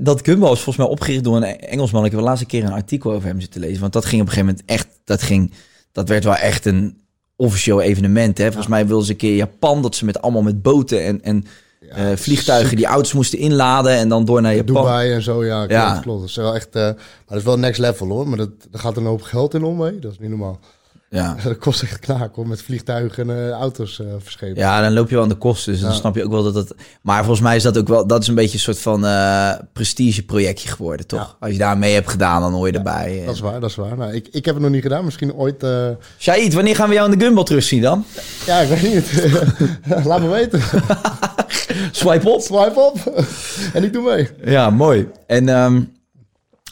dat Gumball is volgens mij opgericht door een E- Engelsman. Ik heb de laatste keer een artikel over hem zitten lezen. Want dat ging op een gegeven moment echt, dat, ging, dat werd wel echt een officieel evenement. Hè? Volgens mij wilden ze een keer Japan, dat ze met allemaal met boten en, en eh, vliegtuigen die auto's moesten inladen en dan door naar Japan.
Dubai en zo, ja, klopt,
Ja.
klopt. Dat is wel echt, eh, maar dat is wel next level hoor. Maar dat, daar gaat een hoop geld in om, hè. Dat is niet normaal.
Ja.
Dat kost echt knaak hoor, met vliegtuigen en eh, auto's eh verschepen.
Ja, dan loop je wel aan de kosten. Dus dan snap je ook wel dat dat. Maar volgens mij is dat ook wel. Dat is een beetje een soort van eh prestigeprojectje geworden, toch? Als je daar mee hebt gedaan, dan hoor je erbij. eh.
Dat is waar, dat is waar. Nou, ik, ik heb het nog niet gedaan. Misschien ooit... eh,
Shaid, wanneer gaan we jou in de Gumball terugzien dan?
Ja, ik weet niet. Laat me weten.
Swipe op.
Swipe op. en ik doe mee.
Ja, mooi. En ehm,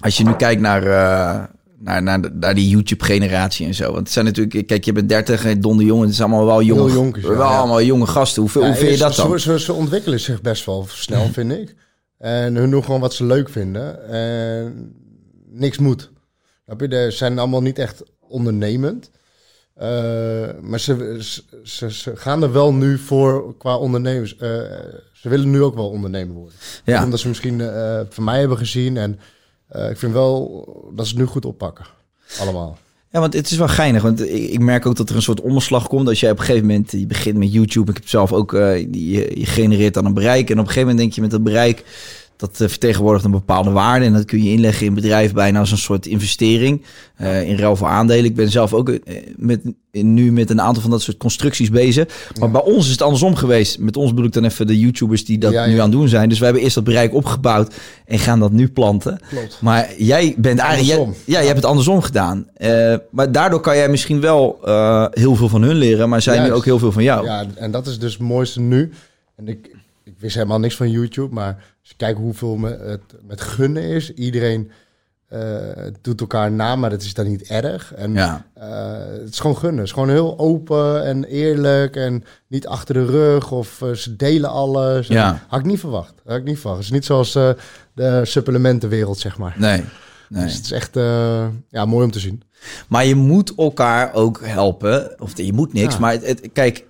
als je nu kijkt naar, eh, naar, naar, de- naar die YouTube-generatie en zo. Want het zijn natuurlijk. Kijk, je bent 30 en Don de Jong. Het zijn allemaal wel jonge,
Heel jonkers, ja.
wel
Ja.
allemaal jonge gasten. Hoe, hoe vind je dat dan?
Ze, ze, ze ontwikkelen zich best wel snel, vind ik. En hun doen gewoon wat ze leuk vinden. En niks moet. Snap je? Ze zijn allemaal niet echt ondernemend. Eh, maar ze, ze- ze, ze gaan er wel nu voor qua ondernemers. eh, ze willen nu ook wel ondernemer worden.
Ja.
Omdat ze misschien eh, van mij hebben gezien. En eh, ik vind wel dat ze het nu goed oppakken. Allemaal.
Ja, want het is wel geinig. Want ik, ik merk ook dat er een soort omslag komt. Als jij op een gegeven moment, je begint met YouTube. Ik heb zelf ook, eh, die- je, je genereert dan een bereik. En op een gegeven moment denk je met dat bereik, dat eh, vertegenwoordigt een bepaalde waarde. En dat kun je inleggen in bedrijf bijna als een soort investering. eh, in ruil voor aandelen. Ik ben zelf ook eh, met, nu met een aantal van dat soort constructies bezig. Maar bij ons is het andersom geweest. Met ons bedoel ik dan even de YouTubers die dat
Ja, ja.
nu aan het doen zijn. Dus wij hebben eerst dat bereik opgebouwd en gaan dat nu planten.
Klopt.
Maar jij bent eigenlijk... jij-
Andersom.
ja, je hebt het andersom gedaan. Eh, maar daardoor kan jij misschien wel eh, heel veel van hun leren, maar zij nu
Juist.
ook heel veel van jou. Ja,
Ja, en dat is dus het mooiste nu. En ik, ik wist helemaal niks van YouTube, maar als je kijkt hoeveel me, het met gunnen is. Iedereen eh, doet elkaar na, maar dat is dan niet erg. En
Ja.
eh, het is gewoon gunnen. Het is gewoon heel open en eerlijk en niet achter de rug of eh, ze delen alles. En
Ja.
Had ik niet verwacht. Had ik niet verwacht. Het is niet zoals eh, de supplementenwereld, zeg maar.
Nee. nee.
Dus het is echt eh, ja, mooi om te zien.
Maar je moet elkaar ook helpen. Of je moet niks, maar het, het- kijk...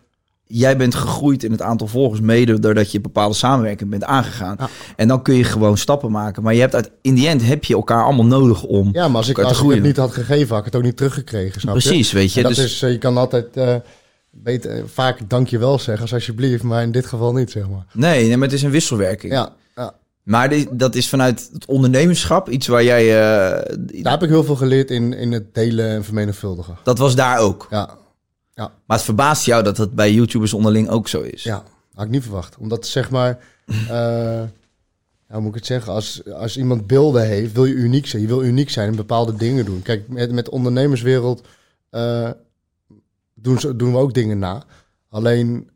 Jij bent gegroeid in het aantal volgers mede doordat je bepaalde samenwerking bent aangegaan. En dan kun je gewoon stappen maken. Maar je hebt uit, in die end heb je elkaar allemaal nodig om
Ja, maar als ik, als
elkaar te
ik het
groeien.
niet had gegeven, had ik het ook niet teruggekregen. Snap je?
Precies, weet je.
En dat
Dus-
is, eh, je kan altijd eh, beter, vaak dankjewel zeggen als alsjeblieft, maar in dit geval niet, zeg maar.
Nee, nee, maar het is een wisselwerking.
Ja, ja.
Maar die- dat is vanuit het ondernemerschap iets waar jij... eh,
daar heb ik heel veel geleerd in, in het delen en vermenigvuldigen.
dat was daar ook.
Ja,
Maar het verbaast jou dat dat bij YouTubers onderling ook zo is.
ja, had ik niet verwacht. Omdat zeg maar, eh, ja, hoe moet ik het zeggen, als, als iemand beelden heeft, wil je uniek zijn. Je wil uniek zijn en bepaalde dingen doen. Kijk, met, met de ondernemerswereld eh, doen, ze, doen we ook dingen na. Alleen,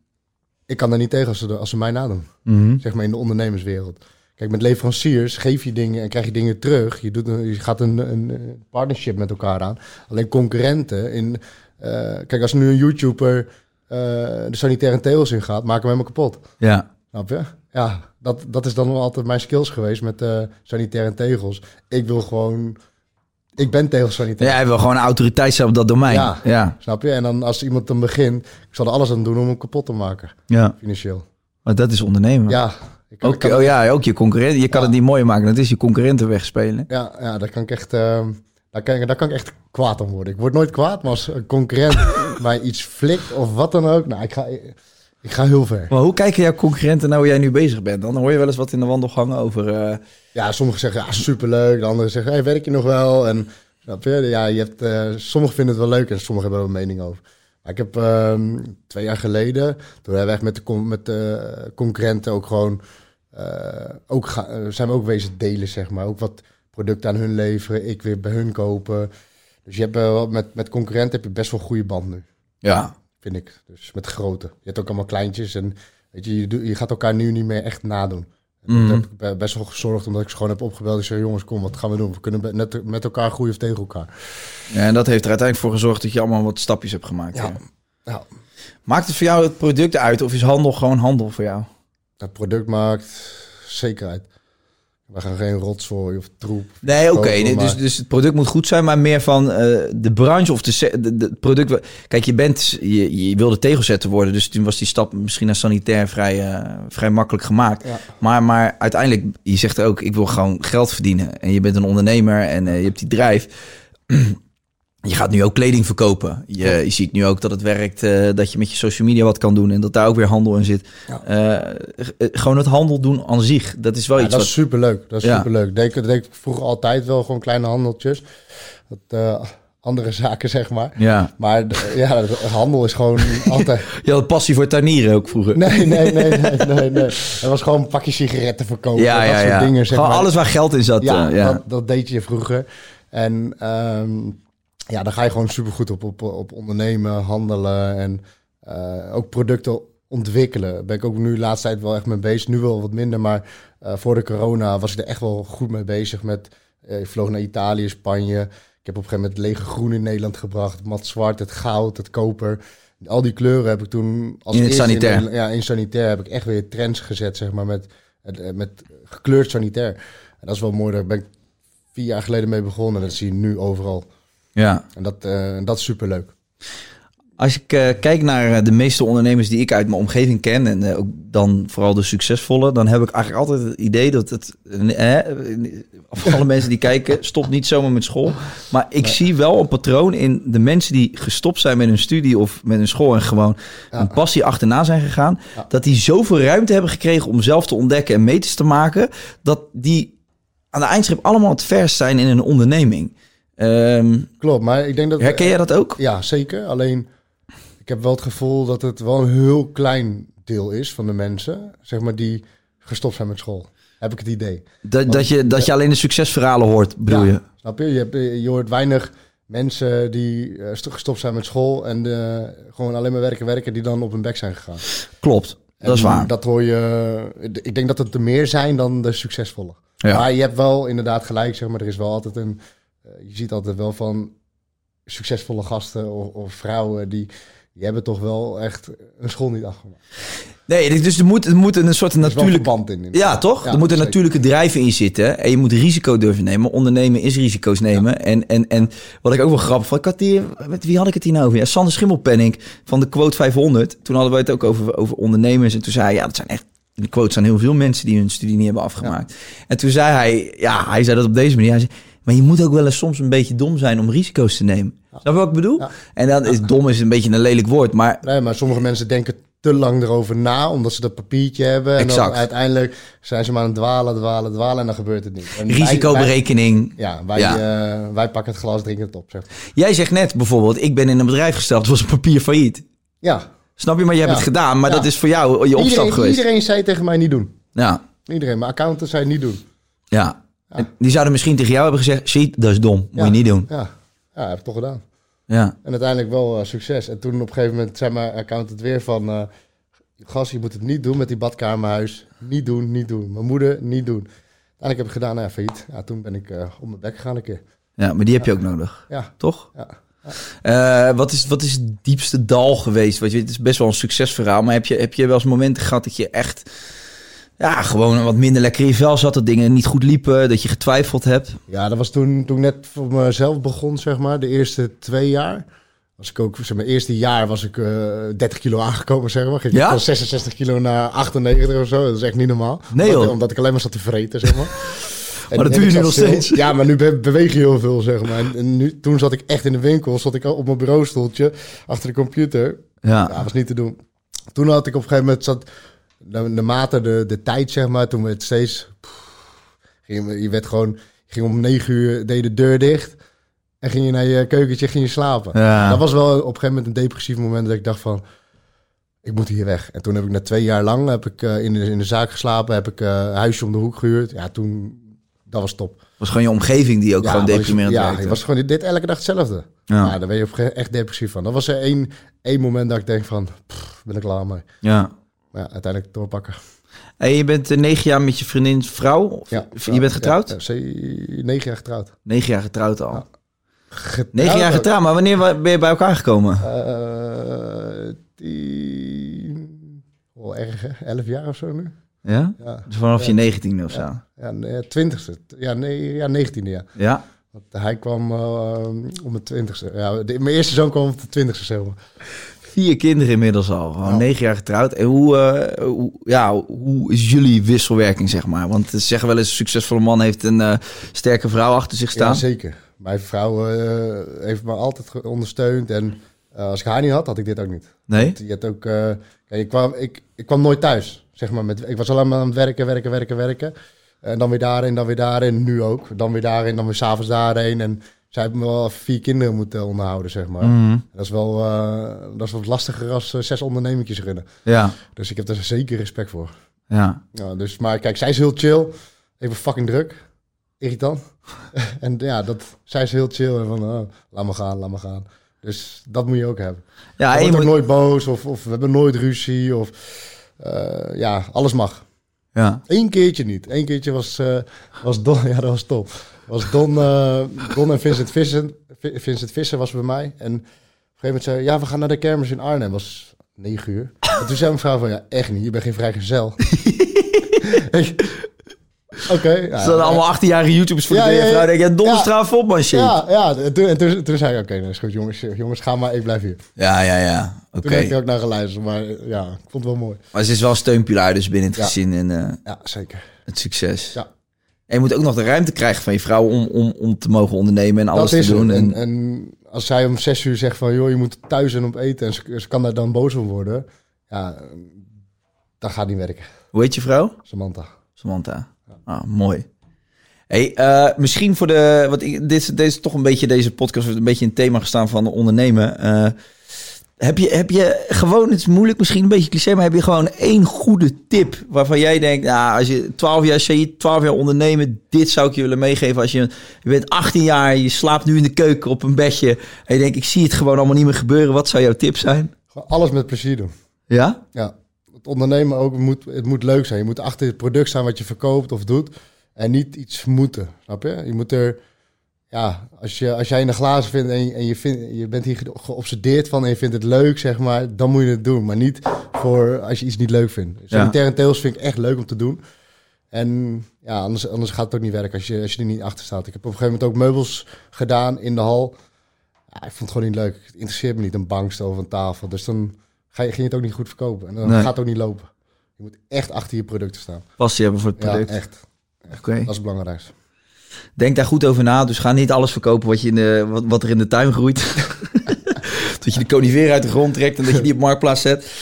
ik kan daar niet tegen als ze, als ze mij nadoen.
Mhm.
Zeg maar in de ondernemerswereld. Kijk, met leveranciers geef je dingen en krijg je dingen terug. Je, doet een, je gaat een, een eh, partnership met elkaar aan. Alleen concurrenten in... eh, kijk, als nu een YouTuber eh, de sanitaire tegels in gaat, maak hem helemaal kapot.
Ja.
Snap je? Ja, dat, dat is dan altijd mijn skills geweest met eh sanitaire tegels. Ik wil gewoon... Ik ben tegelsanitair.
Ja, hij wil gewoon autoriteit zijn op dat domein.
Ja.
ja.
Snap je? En dan als iemand dan begint, ik zal er alles aan doen om hem kapot te maken,
ja.
financieel.
Maar dat is ondernemen.
Ja, ik kan,
Ook,
ik kan-
oh ja, ook je concurrent. Je kan
Ja.
het niet mooier maken. Dat is je concurrenten wegspelen.
ja, ja, daar kan ik echt, ehm, daar kan, ik- daar kan ik echt kwaad om worden. Ik word nooit kwaad, maar als een concurrent mij iets flikt of wat dan ook, nou, ik ga, ik ga heel ver.
Maar hoe kijken jouw concurrenten nou hoe jij nu bezig bent? Dan hoor je wel eens wat in de wandelgangen over... eh,
Ja, sommigen zeggen ja, superleuk, de anderen zeggen hey, werk je nog wel? En snap je? Ja, je hebt, eh, sommigen vinden het wel leuk en sommigen hebben er een mening over. Maar ik heb ehm, twee jaar geleden, toen hebben we echt met de, con- met de eh, concurrenten ook gewoon, eh, ook ga- eh, zijn we ook wezen delen, zeg maar. Ook wat producten aan hun leveren, ik weer bij hun kopen. Dus je hebt eh, wel- met, met concurrenten heb je best wel een goede band nu
ja.
vind ik. Dus met grote. Je hebt ook allemaal kleintjes en weet je, je, doet- je gaat elkaar nu niet meer echt nadoen.
Mhm.
Dat heb ik be- best wel gezorgd, omdat ik ze gewoon heb opgebeld. Ik zei, jongens, kom, wat gaan we doen? We kunnen be- net met elkaar groeien of tegen elkaar.
ja. En dat heeft er uiteindelijk voor gezorgd dat je allemaal wat stapjes hebt gemaakt.
Ja.
ja.
Nou,
Maakt het voor jou het product uit of is handel gewoon handel voor jou?
dat product maakt zekerheid. We gaan geen rotzooi of troep.
Nee, oké.
Kopen,
nee, dus,
maar-
dus het product moet goed zijn, maar meer van eh, de branche of de, se- de, de- het product. wa- Kijk, je, bent, je, je wilde tegelzetter worden, dus toen was die stap misschien naar sanitair vrij, eh, vrij makkelijk gemaakt. Maar, maar uiteindelijk, je zegt ook, ik wil gewoon geld verdienen. En je bent een ondernemer en eh, je hebt die drijf. Je gaat nu ook kleding verkopen. Je, je ziet nu ook dat het werkt, eh, dat je met je social media wat kan doen en dat daar ook weer handel in zit. Eh, g- eh, gewoon het handel doen aan zich, dat is wel
Ja,
Oh, iets
dat
wat...
is superleuk. Dat is
Ja.
superleuk. Deed, ik- deed ik vroeger altijd wel gewoon kleine handeltjes. Dat, eh, andere zaken, zeg maar.
Ja.
Maar eh, ja, handel is gewoon altijd...
Je had passie voor tuinieren ook vroeger.
Nee, nee, nee, nee, nee, nee. Het was gewoon een pakje sigaretten verkopen.
ja,
dat
ja,
soort
ja.
dingen. Zeg
Gewoon
maar.
alles waar geld in zat.
Ja,
eh, ja.
Dat, dat deed je vroeger. En ehm, ja, daar ga je gewoon supergoed op, op, op ondernemen, handelen en eh, ook producten ontwikkelen. Daar ben ik ook nu de laatste tijd wel echt mee bezig. Nu wel wat minder, maar eh, voor de corona was ik er echt wel goed mee bezig. Met, eh, ik vloog naar Italië, Spanje. Ik heb op een gegeven moment lege groen in Nederland gebracht. Het mat zwart, het goud, het koper. Al die kleuren heb ik toen... Als
In het
eerste
sanitair.
Nederland- ja, in sanitair heb ik echt weer trends gezet, zeg maar, met, eh, met gekleurd sanitair. En dat is wel mooi, daar ben ik vier jaar geleden mee begonnen. En dat zie je nu overal.
Ja.
En dat, eh, en dat is superleuk.
Als ik eh, kijk naar eh, de meeste ondernemers die ik uit mijn omgeving ken, en eh, ook dan vooral de succesvolle, dan heb ik eigenlijk altijd het idee dat het. eh, eh, voor alle mensen die kijken, stop niet zomaar met school. Maar ik zie wel een patroon in de mensen die gestopt zijn met hun studie of met hun school en gewoon een passie achterna zijn gegaan. Dat die zoveel ruimte hebben gekregen om zelf te ontdekken en meters te maken, dat die aan de eindschip allemaal het vers zijn in een onderneming. Ehm,
Klopt, maar ik denk dat...
herken jij dat ook?
Ja, zeker. Alleen, ik heb wel het gevoel dat het wel een heel klein deel is van de mensen, zeg maar, die gestopt zijn met school. Heb ik het idee.
Dat, dat, je, dat je alleen de succesverhalen hoort, bedoel
Ja,
je?
Snap je? Je, hebt, eh, je hoort weinig mensen die eh, st- gestopt zijn met school en eh, gewoon alleen maar werken, werken, die dan op hun bek zijn gegaan.
Klopt, dat is
En
waar.
Dat hoor je. eh, Ik denk dat het er meer zijn dan de succesvolle.
Ja.
Maar je hebt wel inderdaad gelijk, zeg maar. Er is wel altijd een. eh, Je ziet altijd wel van succesvolle gasten of, of vrouwen die. Die hebben toch wel echt een school niet afgemaakt.
Nee, dus er moet, er moet een soort
Er is wel een
natuurlijk...
verband in.
Ja, toch? er moet een
zeker.
natuurlijke drijf in zitten. En je moet risico durven nemen. Ondernemen is risico's nemen. En, en, en wat ik ook wel grappig vond... Ik had hier, met wie had ik het hier nou over? Ja, Sander Schimmelpenning van de Quote 500. Toen hadden we het ook over, over ondernemers. En toen zei hij, ja, dat zijn echt... In de quotes zijn heel veel mensen die hun studie niet hebben afgemaakt. En toen zei hij... Ja, hij zei dat op deze manier. Hij zei, maar je moet ook wel eens soms een beetje dom zijn om risico's te nemen. Snap je wat ik bedoel? En dan is dom is een beetje een lelijk woord, maar
Nee, maar sommige mensen denken te lang erover na, omdat ze dat papiertje hebben. En
Exact.
dan uiteindelijk zijn ze maar aan het dwalen, dwalen, dwalen en dan gebeurt het niet. En wij-
risicoberekening.
wij- ja, wij, eh, wij pakken het glas, drinken het op, zeg. maar.
Jij zegt net bijvoorbeeld, ik ben in een bedrijf gestapt, was een papier failliet.
Ja.
Snap je? Maar jij hebt
Ja.
het gedaan, maar
Ja.
dat is voor jou je opstap
Iedereen,
geweest.
iedereen zei tegen mij niet doen.
Ja,
Iedereen, mijn accountant zei niet doen.
ja. En Die zouden misschien tegen jou hebben gezegd, ziet, dat is dom, moet
Ja.
je niet doen.
Ja, ja heb ik toch gedaan.
Ja.
En uiteindelijk wel eh, succes. En toen op een gegeven moment zei mijn accountant weer van... eh gast, je moet het niet doen met die badkamerhuis. Niet doen, niet doen. Mijn moeder, niet doen. Uiteindelijk heb ik gedaan, nou ja, failliet. Ja, toen ben ik eh, op mijn bek gegaan een keer.
ja, maar die heb je ook nodig,
Ja,
toch?
ja.
Eh, wat, is, wat is het diepste dal geweest? Want je, het is best wel een succesverhaal, maar heb je, heb je wel eens momenten gehad dat je echt... Ja, gewoon wat minder lekker in je vel zat, dat dingen niet goed liepen, dat je getwijfeld hebt.
Ja, dat was toen, toen ik net voor mezelf begon, zeg maar. De eerste twee jaar. Was ik ook, zeg maar, mijn eerste jaar was ik eh 30 kilo aangekomen, zeg maar. Ging ik
Ja?
van 66 kilo naar 98 of zo. Dat is echt niet normaal.
Nee,
omdat,
joh.
omdat ik alleen maar zat te vreten, zeg maar. En-
dat
en
doe
ik
je nu
zat
nog
stil.
steeds.
Ja, maar nu be- beweeg je heel veel, zeg maar. En, en nu, toen zat ik echt in de winkel, zat ik op mijn bureaustoeltje achter de computer. Ja,
Ja,
was niet te doen. Toen had ik op een gegeven moment zat, na- naarmate de, de tijd, zeg maar, toen werd steeds. pff, ging, je- je werd gewoon, je ging om negen uur, deed de deur dicht. En ging je naar je keukentje, ging je slapen.
Ja.
Dat was wel op een gegeven moment een depressief moment dat ik dacht van. Ik moet hier weg. En toen heb ik na twee jaar lang heb ik, eh, in, de, in de zaak geslapen. Heb ik eh, een huisje om de hoek gehuurd. Ja, toen... Dat was top.
was gewoon je omgeving die ook gewoon
was-
deprimerend
Ja,
werkte.
ik was gewoon dit elke dag hetzelfde.
Ja.
Ja. daar ben je op een gegeven moment echt depressief van. Dat was er één, één moment dat ik denk van, pff, ben ik klaar mee.
ja.
Maar ja, uiteindelijk doorpakken.
En je bent eh, negen jaar met je vriendin vrouw? Of-
Ja,
je bent getrouwd?
Ja, ja, ze- negen jaar getrouwd.
Negen jaar getrouwd al.
Getrouwd
Negen jaar
ook.
getrouwd, maar wanneer wa- ben je bij elkaar gekomen?
Eh, tien, wel erg hè? elf jaar of zo nu.
ja?
Ja,
Dus vanaf je negentiende of zo? Ja.
ja nee, twintigste. Ja, nee, ja, negentiende ja. Want hij kwam eh, om de twintigste. Ja, de- mijn eerste zoon kwam op de twintigste zeg maar.
Vier kinderen inmiddels al.
Nou.
Gewoon negen jaar getrouwd. En hoe, eh, hoe, ja, hoe is jullie wisselwerking, zeg maar? Want ze zeggen wel eens, een succesvolle man heeft een eh, sterke vrouw achter zich
Ja,
staan.
zeker. Mijn vrouw eh, heeft me altijd ge- ondersteund. En eh, als ik haar niet had, had ik dit ook niet.
nee?
Je hebt ook, eh, kijk, ik, kwam, ik, ik kwam nooit thuis, zeg maar. Met, ik was alleen maar aan het werken, werken, werken, werken. En dan weer daarin, dan weer daarin, nu ook. Dan weer daarin, dan weer s'avonds daarheen. En zij hebben me wel vier kinderen moeten onderhouden, zeg maar. Dat, is wel, eh, dat is wat lastiger als eh, zes ondernemingjes runnen.
Ja,
Dus ik heb daar zeker respect voor.
ja.
Ja, dus, maar kijk, zij is heel chill. Ik ben fucking druk. Irritant. en ja, dat, zij is heel chill. En van, oh, laat me gaan, laat me gaan. Dus dat moet je ook hebben.
Ja,
Je
en je
wordt ook
moet-
nooit boos of, of we hebben nooit ruzie. Of, eh, ja, alles mag.
ja.
Eén keertje niet. Eén keertje was, eh, was Don... Ja, dat was top. Was Don, eh, Don en Vincent Visser, Vi- Vincent Visser was bij mij. En op een gegeven moment zei hij, ja, we gaan naar de kermis in Arnhem. was negen uur. En toen zei mijn vrouw van, ja, echt niet. Je bent geen vrijgezel. Ik- Oké. ja,
Ze hadden allemaal 18-jarige YouTubers voor
Ja,
de deur.
ja, ja.
vrouw denkt, ja, domme
Ja.
straf op, man, shit.
ja, ja, en toen, en toen, toen zei ik, oké, nou is goed jongens, jongens, ga maar, ik blijf hier. Toen
ja, ja. ja. Oké.
heb je ook naar geluisterd, maar eh, ja, ik vond het wel mooi.
Maar ze is wel een steunpilaar dus binnen het
Ja.
gezin en eh,
Ja, zeker.
het succes.
Ja.
En je moet ook nog de ruimte krijgen van je vrouw om, om, om te mogen ondernemen en alles
dat is
te doen.
het.
En,
En, en als zij om zes uur zegt van, joh, je moet thuis en op eten en ze, ze kan daar dan boos om worden, ja, dat gaat niet werken,
Hoe heet je vrouw?
Samantha.
Samantha. Ah, mooi. Hey, eh, misschien voor de. Want ik, dit, is- dit is toch een beetje deze podcast heeft een beetje een thema gestaan van ondernemen. Eh, heb, je, heb je gewoon, het is moeilijk, misschien een beetje cliché, maar heb je gewoon één goede tip waarvan jij denkt, nou, als je 12 jaar je 12 jaar ondernemen, dit zou ik je willen meegeven. Als je, je bent 18 jaar, je slaapt nu in de keuken op een bedje en je denkt, ik zie het gewoon allemaal niet meer gebeuren. Wat zou jouw tip zijn?
Gewoon alles met plezier doen.
Ja?
Ja, het ondernemen ook, het moet, het moet leuk zijn. Je moet achter het product staan wat je verkoopt of doet. En niet iets moeten, snap je? Je moet er, ja, als, je, als jij een glazen vindt en, je- en je, vindt, je bent hier ge- geobsedeerd van en je vindt het leuk, zeg maar, dan moet je het doen. Maar niet voor als je iets niet leuk vindt. Sanitaire teels vind ik echt leuk om te doen. En ja, anders, anders gaat het ook niet werken als je, als je er niet achter staat. Ik heb op een gegeven moment ook meubels gedaan in de hal. Ja, ik vond het gewoon niet leuk. Het interesseert me niet, een bankstel of een tafel. Dus dan ga je, ging je het ook niet goed verkopen. En dan
Nee.
gaat het ook niet lopen. Je moet echt achter je producten staan.
Passie hebben voor het
Ja,
product.
echt.
Oké.
Dat is het belangrijkste.
Denk daar goed over na. Dus ga niet alles verkopen wat, je in de, wat, wat er in de tuin groeit. dat je de conifeer uit de grond trekt en dat je die op marktplaats zet.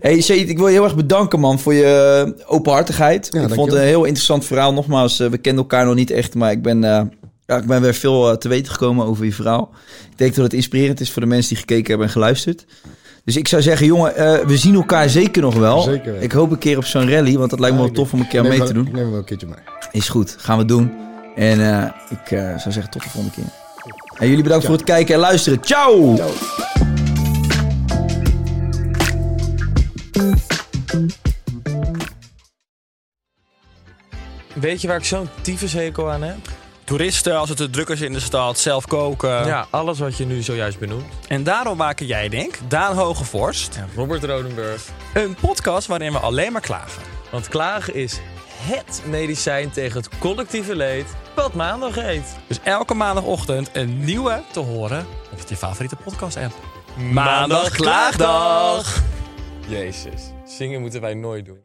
Hey, Seet, ik wil je heel erg bedanken, man, voor je openhartigheid. ik vond het
dankjewel.
een heel interessant verhaal. Nogmaals, eh, we kennen elkaar nog niet echt, maar ik ben, eh, ja, ik ben weer veel eh, te weten gekomen over je verhaal. Ik denk dat het inspirerend is voor de mensen die gekeken hebben en geluisterd. Dus ik zou zeggen, jongen, eh, we zien elkaar zeker nog wel.
Zeker weten.
Ik hoop een keer op zo'n rally, want dat lijkt me wel tof om een keer
Neem
mee
wel-
te doen.
Neem hem wel een keertje mee.
Is goed, gaan we doen. En eh, ik eh, zou zeggen tot de volgende keer. En jullie bedankt voor het kijken en luisteren. Ciao!
Weet je waar ik zo'n tyfushekel aan heb?
Toeristen, als het de druk is in de stad, zelf koken.
Ja, alles wat je nu zojuist benoemt.
En daarom maken jij, denk Daan Hogevorst,
Ja, Robert Rodenburg.
een podcast waarin we alleen maar klagen.
Want klagen is HET medicijn tegen het collectieve leed wat maandag heet.
Dus elke maandagochtend een nieuwe te horen op je favoriete podcast-app.
Maandag klaagdag! Jezus, zingen moeten wij nooit doen.